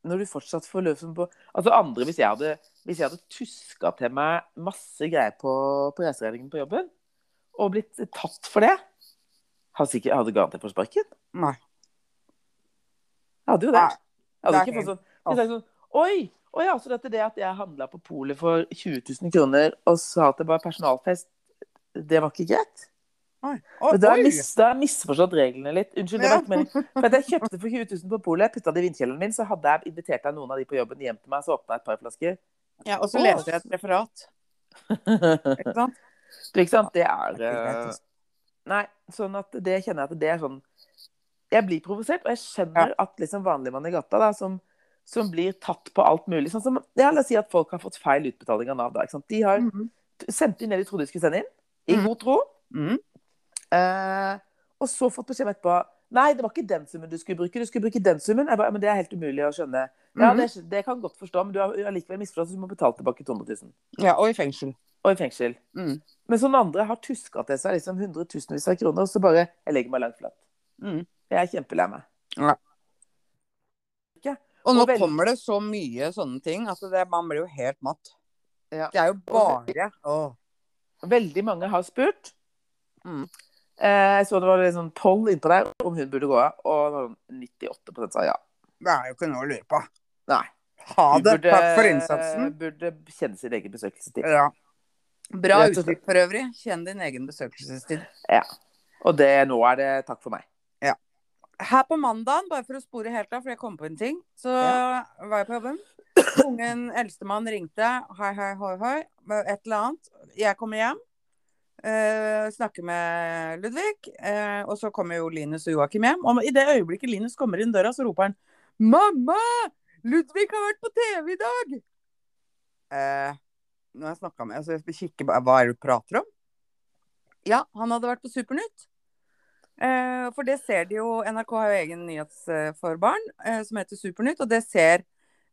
Speaker 1: når du fortsatt får løsen på Altså andre, hvis jeg hadde, hvis jeg hadde tuska til meg masse greier på, på reiseregningen på jobben, og blitt tatt for det Hadde sikkert hadde garantert fått sparken.
Speaker 2: Nei.
Speaker 1: Jeg hadde jo det.
Speaker 2: Nei,
Speaker 1: Jeg hadde
Speaker 2: det
Speaker 1: ikke
Speaker 2: er
Speaker 1: fått sånn, jeg hadde sagt sånn Oi! Å ja, så dette det at jeg handla på polet for 20 000 kroner og sa at det var personalfest, det var ikke greit?
Speaker 2: Oi. Å,
Speaker 1: Men da har
Speaker 2: oi.
Speaker 1: jeg mis- da har jeg misforstått reglene litt. Unnskyld, det
Speaker 2: Ja.
Speaker 1: var ikke meningen. For at jeg kjøpte for 20 000 på polet, putta det i vindkjelleren min, så hadde jeg invitert deg noen av de på jobben hjem til meg, så åpna jeg et par flasker.
Speaker 2: Ja, og så
Speaker 1: Å.
Speaker 2: leser jeg et referat. Ikke sant?
Speaker 1: Så ikke sant, det er
Speaker 2: Det er ikke greit,
Speaker 1: eh,
Speaker 2: altså.
Speaker 1: Nei, sånn at det kjenner jeg at det er sånn Jeg blir provosert, og jeg skjønner at liksom vanlige mann i gata da, som, som blir tatt på alt mulig. Sånn som, ja, La oss si at folk har fått feil utbetaling av Nav. Da, ikke sant? De har
Speaker 2: Mhm.
Speaker 1: sendt inn det de trodde de skulle sende inn, i
Speaker 2: Mhm.
Speaker 1: god tro.
Speaker 2: Mhm.
Speaker 1: Eh, og så fått beskjed om etterpå Nei, det var ikke den summen du skulle bruke. Du skulle bruke den summen. Jeg bare, men det er helt umulig å skjønne. Ja,
Speaker 2: Mhm.
Speaker 1: det, skj- det kan jeg godt forstå, men du har har likevel misforstått, så du må betale tilbake 200 000.
Speaker 2: ja, og i fengsel.
Speaker 1: Og i fengsel.
Speaker 2: Mhm.
Speaker 1: Men sånn andre har tuska til seg liksom hundretusenvis av kroner, og så bare Jeg legger meg langt flat.
Speaker 2: Mhm.
Speaker 1: Jeg er kjempelei meg.
Speaker 2: Og nå
Speaker 1: Og vel-
Speaker 2: kommer det så mye sånne ting. Altså det, man blir jo helt matt.
Speaker 1: Ja.
Speaker 2: Det er jo bare Å.
Speaker 1: Veldig mange har spurt.
Speaker 2: Mm.
Speaker 1: Eh, Jeg så det var en sånn poll innpå der om hun burde gå av, og det var sånn 98 sa ja.
Speaker 2: Det er jo ikke noe å lure på.
Speaker 1: Nei.
Speaker 2: Ha
Speaker 1: Du
Speaker 2: det.
Speaker 1: burde- eh,
Speaker 2: Takk for innsatsen.
Speaker 1: Burde kjenne sin egen besøkelsestid.
Speaker 2: Ja. Bra
Speaker 1: Rett og slett.
Speaker 2: uttrykk for øvrig. Kjenn din egen besøkelsestid.
Speaker 1: Og det, nå er det takk for meg.
Speaker 2: Her på mandagen, bare for å spore helt av, for jeg kom på en ting, så var jeg på jobben. Ungen eldstemann ringte. Hei, hei, hoi, hoi. Et eller annet. Jeg kommer hjem. eh, snakker med Ludvig. eh, og så kommer jo Linus og Joakim hjem. Og i det øyeblikket Linus kommer inn døra, så roper han Mamma! Ludvig har vært på TV i dag! Eh, når jeg snakka med altså jeg kikker bare, Hva er det du prater om? Ja, han hadde vært på Supernytt. Eh, for det ser de jo NRK har jo egen nyhets eh, for barn eh, som heter Supernytt, og det ser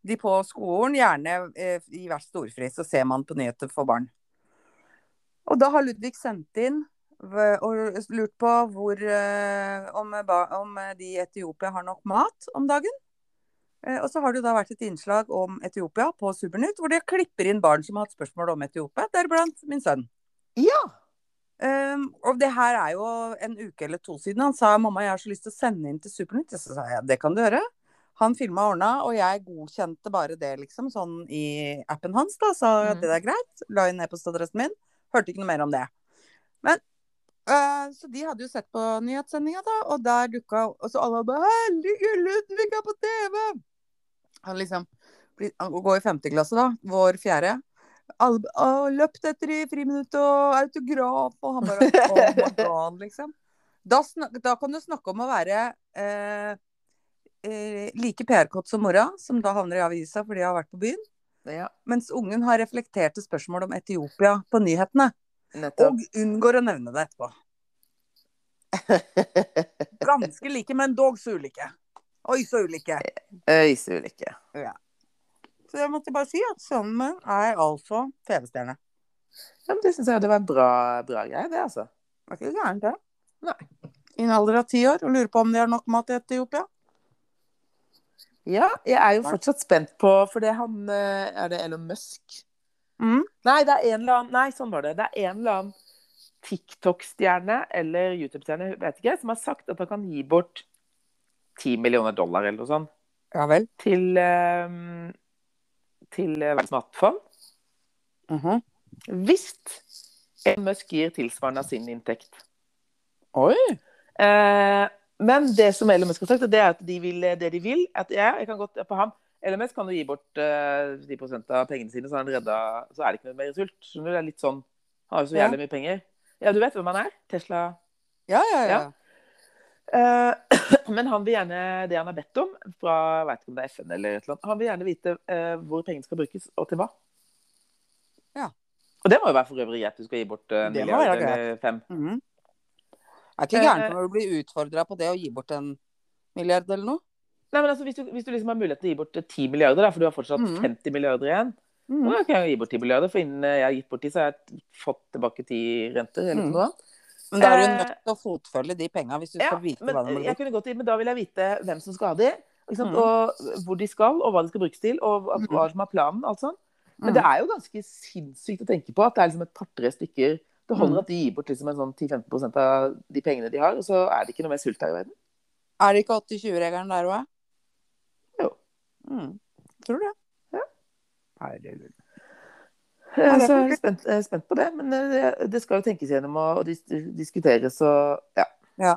Speaker 2: de på skolen, gjerne eh, i hver storfri, så ser man på nyheter for barn. Og da har Ludvig sendt inn v- og lurt på hvor, eh, om, ba- om eh, de i Etiopia har nok mat om dagen. Eh, Og så har det jo da vært et innslag om Etiopia på Supernytt, hvor de klipper inn barn som har hatt spørsmål om Etiopia, deriblant min sønn.
Speaker 1: Ja.
Speaker 2: Um, og det her er jo en uke eller to siden. Han sa mamma, jeg har så lyst til å sende inn til Supernytt. Så sa jeg det kan du gjøre. Han filma og ordna, og jeg godkjente bare det, liksom, sånn i appen hans, da. Sa
Speaker 1: Mhm.
Speaker 2: det er greit. La inn e-postadressen min. Hørte ikke noe mer om det. Men eh, Så de hadde jo sett på nyhetssendinga, da, og der dukka Og så alle bare 'Herregud, Ludvig er på TV!' Han liksom blir- Han går i femte klasse, da. Vår fjerde. Alle, «Å, løpt etter i friminuttet og autograf, og han bare «Oh my God», liksom. Da, snak, da kan du snakke om å være eh, eh, like PR-kåt som mora, som da havner i avisa fordi hun har vært på byen.
Speaker 1: ja
Speaker 2: Mens ungen har reflekterte spørsmål om Etiopia på nyhetene.
Speaker 1: nettopp.
Speaker 2: Og unngår å nevne det etterpå. (laughs) Ganske like, men dog så ulike. Oi, så ulike.
Speaker 1: Øysulykke.
Speaker 2: Så jeg måtte bare si at sønnen min er altså TV-stjerne.
Speaker 1: Ja, men det syns jeg det var en bra, bra greie, det, altså.
Speaker 2: Var ikke gærent, det.
Speaker 1: Nei.
Speaker 2: I en alder av ti år. Og lurer på om de har nok mat i Etiopia.
Speaker 1: Ja, jeg er jo fortsatt spent på For det han eh, Er det Elon Musk?
Speaker 2: Mm.
Speaker 1: Nei, det er en eller annen Nei, sånn var det. Det er en eller annen TikTok-stjerne eller YouTube-stjerne, jeg vet ikke, som har sagt at han kan gi bort 10 millioner dollar eller noe sånt
Speaker 2: Ja vel.
Speaker 1: til eh, til eh, Verdens matfond.
Speaker 2: Mhm.
Speaker 1: Hvis Elon Musk gir tilsvarende av sin inntekt.
Speaker 2: Oi!
Speaker 1: Eh, men det som Elon Musk har sagt, det er at de vil det de vil. At jeg, jeg kan godt, på ham, Elon Musk kan jo gi bort eh, 10 av pengene sine, så, er han redda, så er det ikke noe mer sult. Skjønner du? Det er litt sånn, Han har jo så
Speaker 2: Ja.
Speaker 1: jævlig mye penger. Ja, du vet hvem han er? Tesla.
Speaker 2: Ja, ja, ja.
Speaker 1: Ja.
Speaker 2: (clears throat)
Speaker 1: Eh, men han vil gjerne det han har bedt om, fra jeg vet ikke om det er FN eller et eller annet, han vil gjerne vite eh, hvor pengene skal brukes, og til hva.
Speaker 2: Ja.
Speaker 1: Og det må jo være for øvrig greit. Du skal gi bort eh, en
Speaker 2: Det må
Speaker 1: milliard
Speaker 2: være greit.
Speaker 1: eller fem.
Speaker 2: Mhm. Er ikke gærent når du blir utfordra på det å gi bort en milliard eller noe.
Speaker 1: Nei, men altså, hvis du, hvis du liksom har mulighet til å gi bort eh, 10 milliarder, da, for du har fortsatt
Speaker 2: Mhm.
Speaker 1: 50 milliarder igjen,
Speaker 2: Mhm.
Speaker 1: Da kan jeg gi bort 10 milliarder, for innen jeg har gitt bort 10, så har jeg fått tilbake 10 renter. eller
Speaker 2: Mm.
Speaker 1: noe annet.
Speaker 2: Men da er du
Speaker 1: Eh,
Speaker 2: nødt til å fotfølge de penga hvis du
Speaker 1: Ja,
Speaker 2: skal vite hva det
Speaker 1: men, eh,
Speaker 2: må bli.
Speaker 1: jeg kunne gått i, men da vil jeg vite hvem som skal ha de, ikke sant?
Speaker 2: Mm.
Speaker 1: og hvor de skal, og hva de skal brukes til, og hva- hva som er planen. alt sånt. Men
Speaker 2: Mm.
Speaker 1: det er jo ganske sinnssykt å tenke på at det er liksom et par-tre stykker Det
Speaker 2: Mm.
Speaker 1: holder at de gir bort liksom en sånn 10-15 av de pengene de har, og så er det ikke noe mer sult her i verden.
Speaker 2: Er det ikke 80-20-regelen der òg?
Speaker 1: Jo.
Speaker 2: Mm. Tror det.
Speaker 1: Eh,
Speaker 2: det er
Speaker 1: Så jeg
Speaker 2: kult.
Speaker 1: er spent, jeg er spent på det, men eh, det, det skal jo tenkes gjennom og, og dis diskuteres og ja.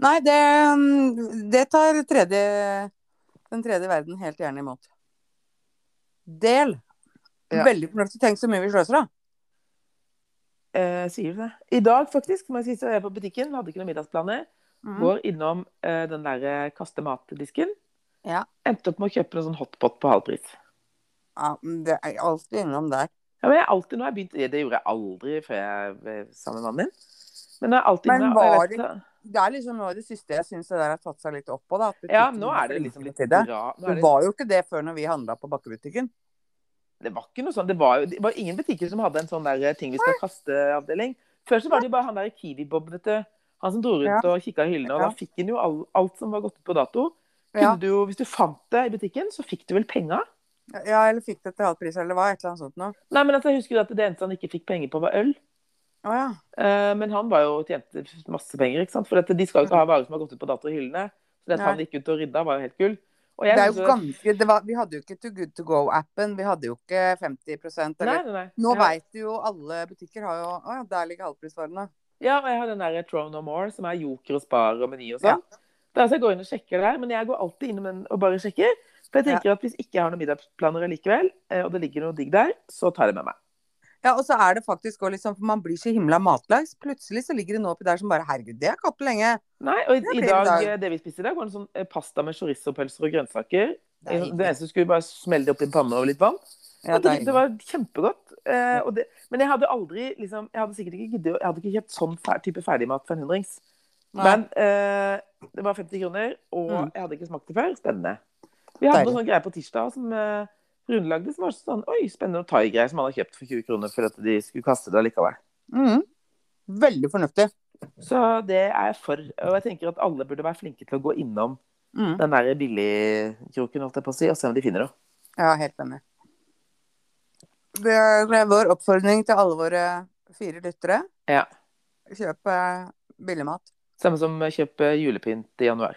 Speaker 2: Nei, det, mm, det tar tredje, den tredje verden helt gjerne imot. Del.
Speaker 1: Ja.
Speaker 2: Veldig fornuftig. Tenk så mye vi sløser, da.
Speaker 1: Eh, sier du det? I dag, faktisk, må jeg si, så er jeg på butikken. Hadde ikke noen middagsplaner.
Speaker 2: Mm.
Speaker 1: Går innom eh, den derre kaste mat-disken.
Speaker 2: Ja.
Speaker 1: Endte opp med å kjøpe noe sånn hotpot på halv pris.
Speaker 2: Ja, men det er alltid innom der.
Speaker 1: Ja, men jeg har alltid, nå har jeg begynt, det gjorde jeg aldri før jeg var sammen med mannen min. Men, jeg har alltid,
Speaker 2: Men
Speaker 1: nå-
Speaker 2: var
Speaker 1: jeg vet
Speaker 2: det-
Speaker 1: ikke-
Speaker 2: Det er liksom noe av det siste jeg syns det der har tatt seg litt opp på. da. at
Speaker 1: Ja,
Speaker 2: butikken
Speaker 1: nå
Speaker 2: er
Speaker 1: er det
Speaker 2: flinkere
Speaker 1: liksom litt
Speaker 2: til det.
Speaker 1: bra. Nå er
Speaker 2: Det
Speaker 1: det,
Speaker 2: var jo ikke det før når vi handla på Bakkebutikken.
Speaker 1: det var ikke noe sånn. Det var, jo, det var ingen butikker som hadde en sånn der ting vi skal kaste-avdeling. Før så var det jo bare han der Kiwi-Bob, vet du. Han som dro rundt og kikka i hyllene, og
Speaker 2: Ja.
Speaker 1: da fikk han jo all, alt som var gått ut på dato.
Speaker 2: Ja.
Speaker 1: Kunne du, jo- hvis du fant det i butikken, så fikk du vel penga?
Speaker 2: ja, eller fikk det til halv pris, eller hva? Et eller annet sånt noe.
Speaker 1: Nei, men altså, jeg husker jo at det eneste han ikke fikk penger på, var øl.
Speaker 2: Å ja.
Speaker 1: Eh, men han var jo tjente masse penger, ikke sant? for at de skal jo ikke ha varer som har gått ut på dato i hyllene. Så det at
Speaker 2: Nei.
Speaker 1: han gikk ut og rydda, var jo helt gull. Og
Speaker 2: Det
Speaker 1: jeg
Speaker 2: er jo
Speaker 1: synes
Speaker 2: ganske, det var, vi hadde jo ikke Too Good To Go-appen. Vi hadde jo ikke 50
Speaker 1: Nei,
Speaker 2: eller
Speaker 1: nei, nei.
Speaker 2: Nå
Speaker 1: Jeg har-
Speaker 2: veit du jo alle butikker har jo Å ja, der ligger halvprisvarene.
Speaker 1: Ja, og jeg har den der Throw No More, som er Joker og Spar og Meny og sånn. Da så jeg går inn og sjekker der, men jeg går alltid innom den og bare sjekker. For jeg tenker at hvis ikke jeg har noen middagsplaner likevel, og det ligger noe digg der, så tar jeg det med meg.
Speaker 2: Ja, og så er det faktisk òg liksom For man blir så himla matlags. Plutselig så ligger det noe oppi der som bare Herregud, det har jeg ikke hatt på lenge.
Speaker 1: Nei, og
Speaker 2: Det
Speaker 1: i, i
Speaker 2: blir
Speaker 1: dag,
Speaker 2: en dag.
Speaker 1: eh, det vi spiste i dag, var en sånn eh, pasta med chorizo-pølser og grønnsaker. Eh,
Speaker 2: Det er
Speaker 1: det
Speaker 2: hyggelig.
Speaker 1: eneste skulle vi bare smelle det opp i en panne og litt vann.
Speaker 2: Ja,
Speaker 1: og
Speaker 2: det
Speaker 1: det,
Speaker 2: er
Speaker 1: det
Speaker 2: hyggelig.
Speaker 1: var kjempegodt. Eh, og det, men jeg hadde aldri liksom, Jeg hadde sikkert ikke giddet å- Jeg hadde ikke kjøpt sånn fer, type ferdigmat for en hundrings.
Speaker 2: Nei.
Speaker 1: Men eh, det var 50 kroner, og
Speaker 2: Mm.
Speaker 1: jeg hadde ikke smakt det før. Spennende. Vi hadde
Speaker 2: Deilig.
Speaker 1: noen greier på tirsdag som eh, Rune lagde, som var sånn Oi, spennende noen thaigreier som han hadde kjøpt for 20 kroner for at de skulle kaste det allikevel.
Speaker 2: Mhm. Veldig fornuftig.
Speaker 1: Så det er jeg for. Og jeg tenker at alle burde være flinke til å gå innom
Speaker 2: Mhm.
Speaker 1: den der billigkroken, holdt jeg på å si, og se om de finner noe.
Speaker 2: Ja, helt enig. Det er vår oppfordring til alle våre fire lyttere.
Speaker 1: Ja.
Speaker 2: Kjøp eh, billigmat.
Speaker 1: Samme som kjøpe julepynt i januar.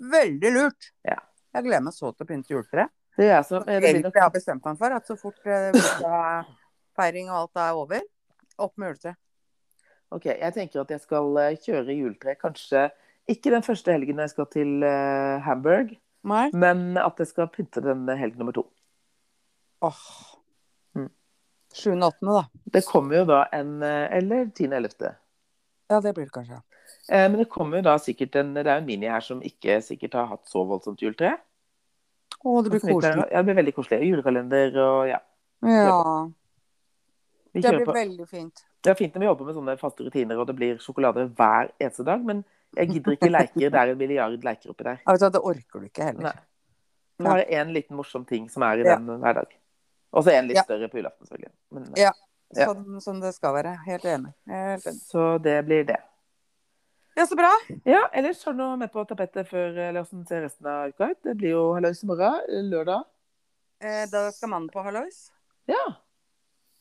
Speaker 2: Veldig lurt.
Speaker 1: Ja.
Speaker 2: Jeg gleder meg så til å pynte juletreet.
Speaker 1: Det er som, eh, det blir
Speaker 2: Egentlig
Speaker 1: nok
Speaker 2: har jeg bestemt meg for at så fort eh, bursdagsfeiring og alt er over, opp med juletre.
Speaker 1: Ok, jeg tenker at jeg skal eh, kjøre juletre kanskje ikke den første helgen når jeg skal til eh, Hamburg,
Speaker 2: Nei.
Speaker 1: men at jeg skal pynte den helg nummer to.
Speaker 2: Åh.
Speaker 1: Mm.
Speaker 2: 7. og 8. da.
Speaker 1: Det kommer jo da en eh, Eller 10. 11.
Speaker 2: Ja, det blir det kanskje.
Speaker 1: Eh, Men det kommer jo da sikkert en Det er jo en mini her som ikke sikkert har hatt så voldsomt juletre.
Speaker 2: Å, det blir
Speaker 1: Som vi pleier å
Speaker 2: koselig.
Speaker 1: ha. Ja, det blir veldig koselig. Og Julekalender og ja.
Speaker 2: Ja,
Speaker 1: Vi
Speaker 2: det
Speaker 1: kjører
Speaker 2: blir
Speaker 1: på.
Speaker 2: veldig fint.
Speaker 1: Det er fint når vi jobber med sånne faste rutiner, og det blir sjokolade hver eneste dag, men jeg gidder ikke leker. Det er en milliard leker oppi der.
Speaker 2: Jeg vet at Det orker du ikke heller.
Speaker 1: Nei. Det er én liten morsom ting som er i den hver dag. Og så en litt
Speaker 2: Ja.
Speaker 1: større på julaften, selvfølgelig. Men,
Speaker 2: Ja.
Speaker 1: Ja.
Speaker 2: Sånn som det skal være. Helt enig. Helt enig.
Speaker 1: Så det blir det.
Speaker 2: Ja, så bra.
Speaker 1: Ja, ellers har du noe med på tapetet før eller hvordan ser resten av uka ut? Det blir jo hallois i morgen, lørdag.
Speaker 2: Eh, Da skal mannen på hallois.
Speaker 1: Ja.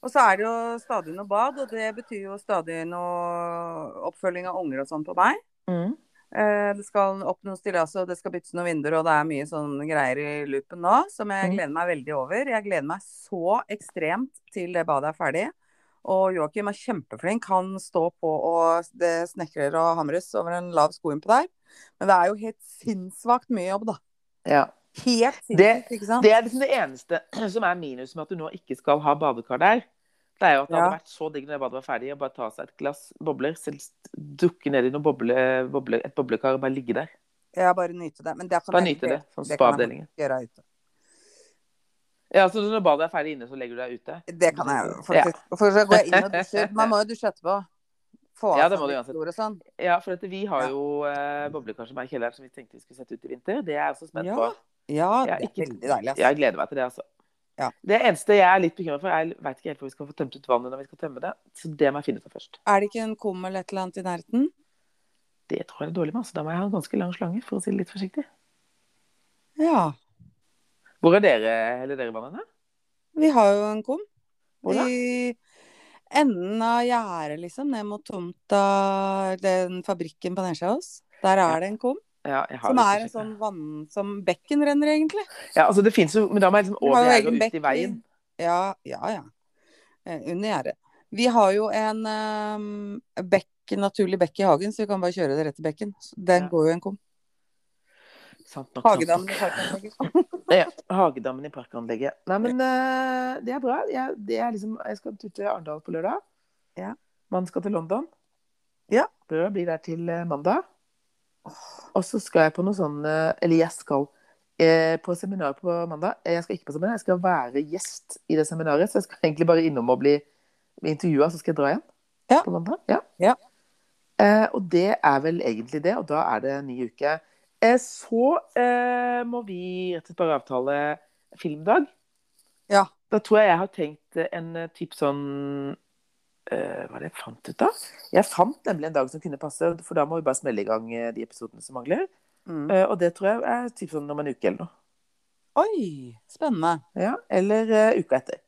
Speaker 2: Og så er det jo stadig noe bad, og det betyr jo stadig noe oppfølging av unger og sånn på meg.
Speaker 1: Mm.
Speaker 2: Eh, Det skal opp noen stillaser, og det skal byttes noen vinduer, og det er mye sånne greier i loopen nå som jeg
Speaker 1: Mhm.
Speaker 2: gleder meg veldig over. Jeg gleder meg så ekstremt til det badet er ferdig. Og Joakim er kjempeflink. Han står på og det snekrer og hamres over en lav sko innpå der. Men det er jo helt sinnssvakt mye jobb, da.
Speaker 1: ja.
Speaker 2: Helt
Speaker 1: Det-
Speaker 2: sinnssvakt, ikke sant?
Speaker 1: Det er liksom det eneste (clears throat) som er minus med at du nå ikke skal ha badekar der. Det er jo at det
Speaker 2: Ja.
Speaker 1: hadde vært så digg når det badet var ferdig, å bare ta seg et glass bobler, selv dukke ned i noen boble, boble, et boblekar og bare ligge der.
Speaker 2: Ja, bare nyte det. Men det kan
Speaker 1: Bare
Speaker 2: jeg
Speaker 1: nyte det. Sånn
Speaker 2: det kan jeg
Speaker 1: spa-avdelingen.
Speaker 2: gjøre ute.
Speaker 1: Ja, så når badet er ferdig inne, så legger du deg ute.
Speaker 2: Det kan jeg jo, faktisk. For så går
Speaker 1: (laughs)
Speaker 2: jeg inn og dusjer. Man må jo dusje etterpå. Få
Speaker 1: Ja,
Speaker 2: av
Speaker 1: det
Speaker 2: seg
Speaker 1: må du
Speaker 2: litt
Speaker 1: uansett.
Speaker 2: blod og sånn.
Speaker 1: Ja, for at vi har
Speaker 2: Ja.
Speaker 1: jo eh, boblekar som er i kjelleren, som vi tenkte vi skulle sette ut i vinter. Det er jeg også spent
Speaker 2: Ja,
Speaker 1: på.
Speaker 2: Ja, det
Speaker 1: Jeg
Speaker 2: er
Speaker 1: er ikke-
Speaker 2: veldig deilig. ass.
Speaker 1: Jeg gleder meg til det, altså.
Speaker 2: Ja.
Speaker 1: Det eneste jeg er litt bekymra for, jeg veit ikke helt hvor vi skal få tømt ut vannet når vi skal tømme det. Så det må jeg finne ut av først.
Speaker 2: Er det ikke en kum eller et eller annet i nærheten?
Speaker 1: Det tror jeg er dårlig med, altså. Da må jeg ha en ganske lang slange, for å si det litt forsiktig.
Speaker 2: Ja.
Speaker 1: Hvor er dere, heller dere vannet? hen, da?
Speaker 2: Vi har jo en kum.
Speaker 1: Hvor da?
Speaker 2: I enden av gjerdet, liksom, ned mot tomta Den fabrikken på nedsida av oss. Der
Speaker 1: Ja.
Speaker 2: er det en kum.
Speaker 1: Ja, jeg har
Speaker 2: Som
Speaker 1: litt
Speaker 2: er en
Speaker 1: forsiktig.
Speaker 2: sånn vann som bekken renner, egentlig.
Speaker 1: Ja, altså det finnes jo, men da må jeg liksom
Speaker 2: Vi har
Speaker 1: over
Speaker 2: jo
Speaker 1: her og
Speaker 2: egen
Speaker 1: ut
Speaker 2: bekk
Speaker 1: i veien.
Speaker 2: Ja, ja, ja. Eh, Under gjerdet. Vi har jo en ehm, bekk, naturlig bekk i hagen, så vi kan bare kjøre det rett til bekken. Så Den
Speaker 1: Ja.
Speaker 2: går jo i en kum.
Speaker 1: Sant nok, sant
Speaker 2: Hagedammen
Speaker 1: nok.
Speaker 2: i parkanlegget.
Speaker 1: Ja, Hagedammen i parkanlegget. Nei, men eh, det er bra. Jeg, det er liksom, jeg skal en tur til Arendal på lørdag.
Speaker 2: Ja.
Speaker 1: Man skal til London.
Speaker 2: Ja.
Speaker 1: Bør bli der til eh, mandag. Og så skal jeg på noe sånn eh, Eller jeg skal eh, på seminar på mandag. Eh, Jeg skal ikke på seminar, jeg skal være gjest i det seminaret. Så jeg skal egentlig bare innom og bli intervjua, så skal jeg dra igjen
Speaker 2: Ja.
Speaker 1: på mandag. Ja.
Speaker 2: Ja.
Speaker 1: Eh, og det er vel egentlig det, og da er det en ny uke. Eh, så eh, må vi rett og slett bare avtale filmdag.
Speaker 2: Ja.
Speaker 1: Da tror jeg jeg har tenkt eh, en eh, typ sånn eh, Hva er det jeg fant ut av? Jeg fant nemlig en dag som kunne passe, for da må vi bare smelle i gang eh, de episodene som mangler.
Speaker 2: Mm.
Speaker 1: Eh, og det tror jeg er typ sånn om en uke eller noe.
Speaker 2: Oi, spennende.
Speaker 1: Ja, eller eh, uka etter.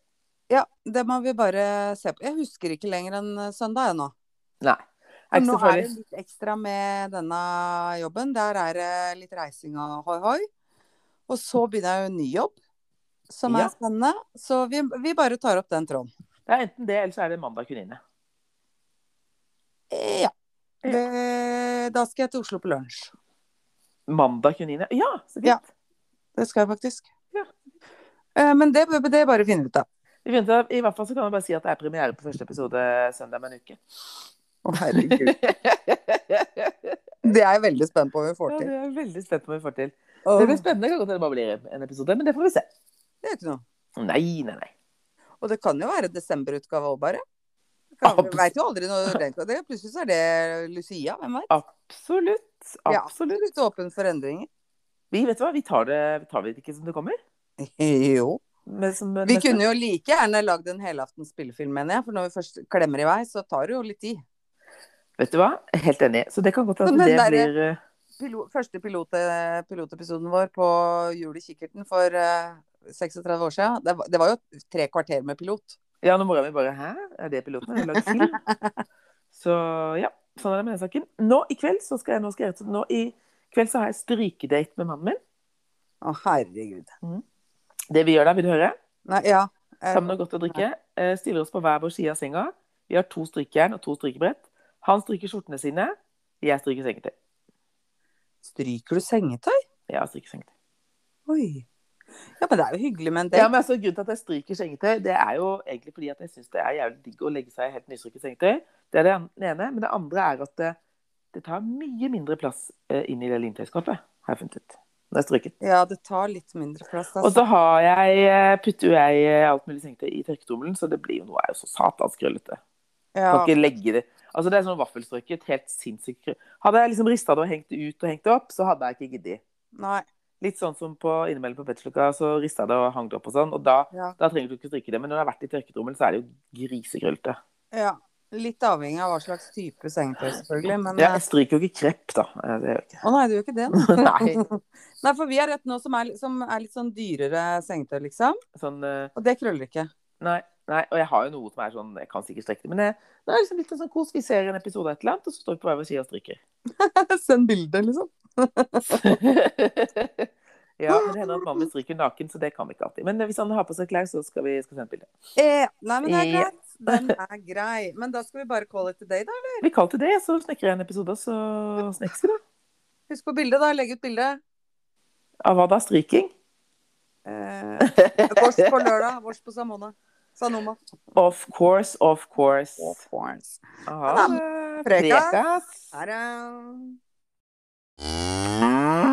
Speaker 2: Ja, det må vi bare se på. Jeg husker ikke lenger enn eh, søndag jeg nå.
Speaker 1: Nei. Er
Speaker 2: Men
Speaker 1: ikke
Speaker 2: nå
Speaker 1: så
Speaker 2: er
Speaker 1: farlig.
Speaker 2: det litt ekstra med denne jobben. Der er det litt reising og hoi-hoi. Og så begynner jeg jo en ny jobb, som
Speaker 1: Ja.
Speaker 2: er spennende. Så vi, vi bare tar opp den tråden.
Speaker 1: Det er enten det, eller så er det mandag kuninne.
Speaker 2: Ja. Det, da skal jeg til Oslo på lunsj.
Speaker 1: Mandag kuninne. Ja, så fint.
Speaker 2: Ja. Det skal jeg faktisk.
Speaker 1: Ja.
Speaker 2: Eh, Men det, det bare finner vi ut av.
Speaker 1: Vi begynte, I hvert fall så kan jeg bare si at det er premiere på første episode søndag om en uke.
Speaker 2: Å,
Speaker 1: (laughs)
Speaker 2: herregud. Det er jeg veldig spent på om vi får
Speaker 1: Ja,
Speaker 2: til.
Speaker 1: det er jeg veldig spent på om vi får til.
Speaker 2: Åh,
Speaker 1: Det blir spennende. Det kan godt hende det bare blir en episode, men det får vi se.
Speaker 2: det er ikke noe.
Speaker 1: Nei, nei, nei.
Speaker 2: Og det kan jo være desemberutgave òg, bare. Det kan- Vi
Speaker 1: Abs-
Speaker 2: veit jo aldri når det kan det- Plutselig så er det Lucia, hvem veit?
Speaker 1: Absolutt.
Speaker 2: Ja.
Speaker 1: Absolutt.
Speaker 2: Litt åpen for endringer. (laughs)
Speaker 1: Vi vet du hva, vi tar det, vi tar det ikke som det kommer.
Speaker 2: Jo.
Speaker 1: Men som
Speaker 2: Vi kunne jo like gjerne lagd en helaftens spillefilm, mener jeg. For når vi først klemmer i vei, så tar det jo litt tid.
Speaker 1: Vet du hva? Helt enig. Så det kan godt
Speaker 2: Som
Speaker 1: hende det
Speaker 2: den derre-
Speaker 1: blir eh,
Speaker 2: Pilo første pilote pilotepisoden vår på Jul i kikkerten for eh, 36 år siden, det var, det var jo tre kvarter med pilot.
Speaker 1: Ja, nå mora mi bare Hæ, er det piloten? Har du lagd film? (laughs) så ja, sånn er det med den saken. Nå i kveld så skal jeg nå skal jeg, rett og slett- nå i kveld så har jeg strykedate med mannen min.
Speaker 2: Å, herregud.
Speaker 1: Det vi gjør da, vil du høre?
Speaker 2: Nei, ja. eh,
Speaker 1: Ta med noe godt å drikke. eh, Stiller oss på hver vår side av senga. Vi har to strykejern og to strykebrett. Han stryker skjortene sine. Jeg stryker sengetøy.
Speaker 2: Stryker du sengetøy?
Speaker 1: Jeg stryker sengetøy.
Speaker 2: Oi. Ja, men det er jo hyggelig med en
Speaker 1: Ja,
Speaker 2: del.
Speaker 1: men altså, grunnen til at jeg stryker sengetøy, det er jo egentlig fordi at jeg syns det er jævlig digg å legge seg i helt nystrykket sengetøy. Det er det an- det ene. Men det andre er at det, det tar mye mindre plass eh, inn i det lintøyskapet, har jeg funnet ut. Når jeg stryker.
Speaker 2: Ja, det tar litt mindre plass.
Speaker 1: Og
Speaker 2: Altså.
Speaker 1: så har jeg, eh, putter jo jeg eh, alt mulig sengetøy i tørketrommelen, så det blir jo noe er jo så satans krøllete. Kan
Speaker 2: Ja.
Speaker 1: ikke legge det Altså Det er sånn vaffelstrøket. Helt sinnssykt. krøll. Hadde jeg liksom rista det og hengt det ut og hengt det opp, så hadde jeg ikke giddet.
Speaker 2: Nei.
Speaker 1: Litt sånn som på innimellom på Petslukka, så rista jeg det og hang det opp og sånn. Og da,
Speaker 2: Ja.
Speaker 1: da trenger du ikke stryke det. Men når det har vært i tørketrommelen, så er det jo grisekrøllete.
Speaker 2: ja. Litt avhengig av hva slags type sengetøy, selvfølgelig. Men
Speaker 1: Ja,
Speaker 2: eh,
Speaker 1: jeg stryker jo ikke krepp, da. Eh, Det gjør jeg ikke. (laughs)
Speaker 2: Å nei, du gjør ikke det? (laughs)
Speaker 1: Nei.
Speaker 2: Nei, for vi har et nå som er, som er litt sånn dyrere sengetøy, liksom.
Speaker 1: Sånn eh,
Speaker 2: Og det krøller ikke. (laughs)
Speaker 1: Nei. Nei, og jeg har jo noe som er sånn Jeg kan sikkert strekke det, men det, det er liksom litt sånn kos. Vi ser en episode av et eller annet, og så står vi på hver vår side og stryker.
Speaker 2: Send bilde, liksom.
Speaker 1: (laughs) ja, men det hender at mannen min stryker naken, så det kan vi ikke alltid. Men eh, hvis han har på seg klær, så skal vi skal sende bilde.
Speaker 2: Eh, nei, men det er
Speaker 1: Ja.
Speaker 2: greit. Den er grei. Men da skal vi bare call it a day, da.
Speaker 1: Vi kaller til det, så snekrer jeg en episode, og så snekkes vi, da.
Speaker 2: Husk på bildet, da. Legg ut bilde.
Speaker 1: Av hva da? Stryking?
Speaker 2: Eh, (laughs) vårs på lørdag. Vårs på Samona. Sanoma.
Speaker 1: Of course, of course.
Speaker 2: Ja da.
Speaker 1: Aha.
Speaker 2: Prekas.
Speaker 1: Prekas.
Speaker 2: Ha det.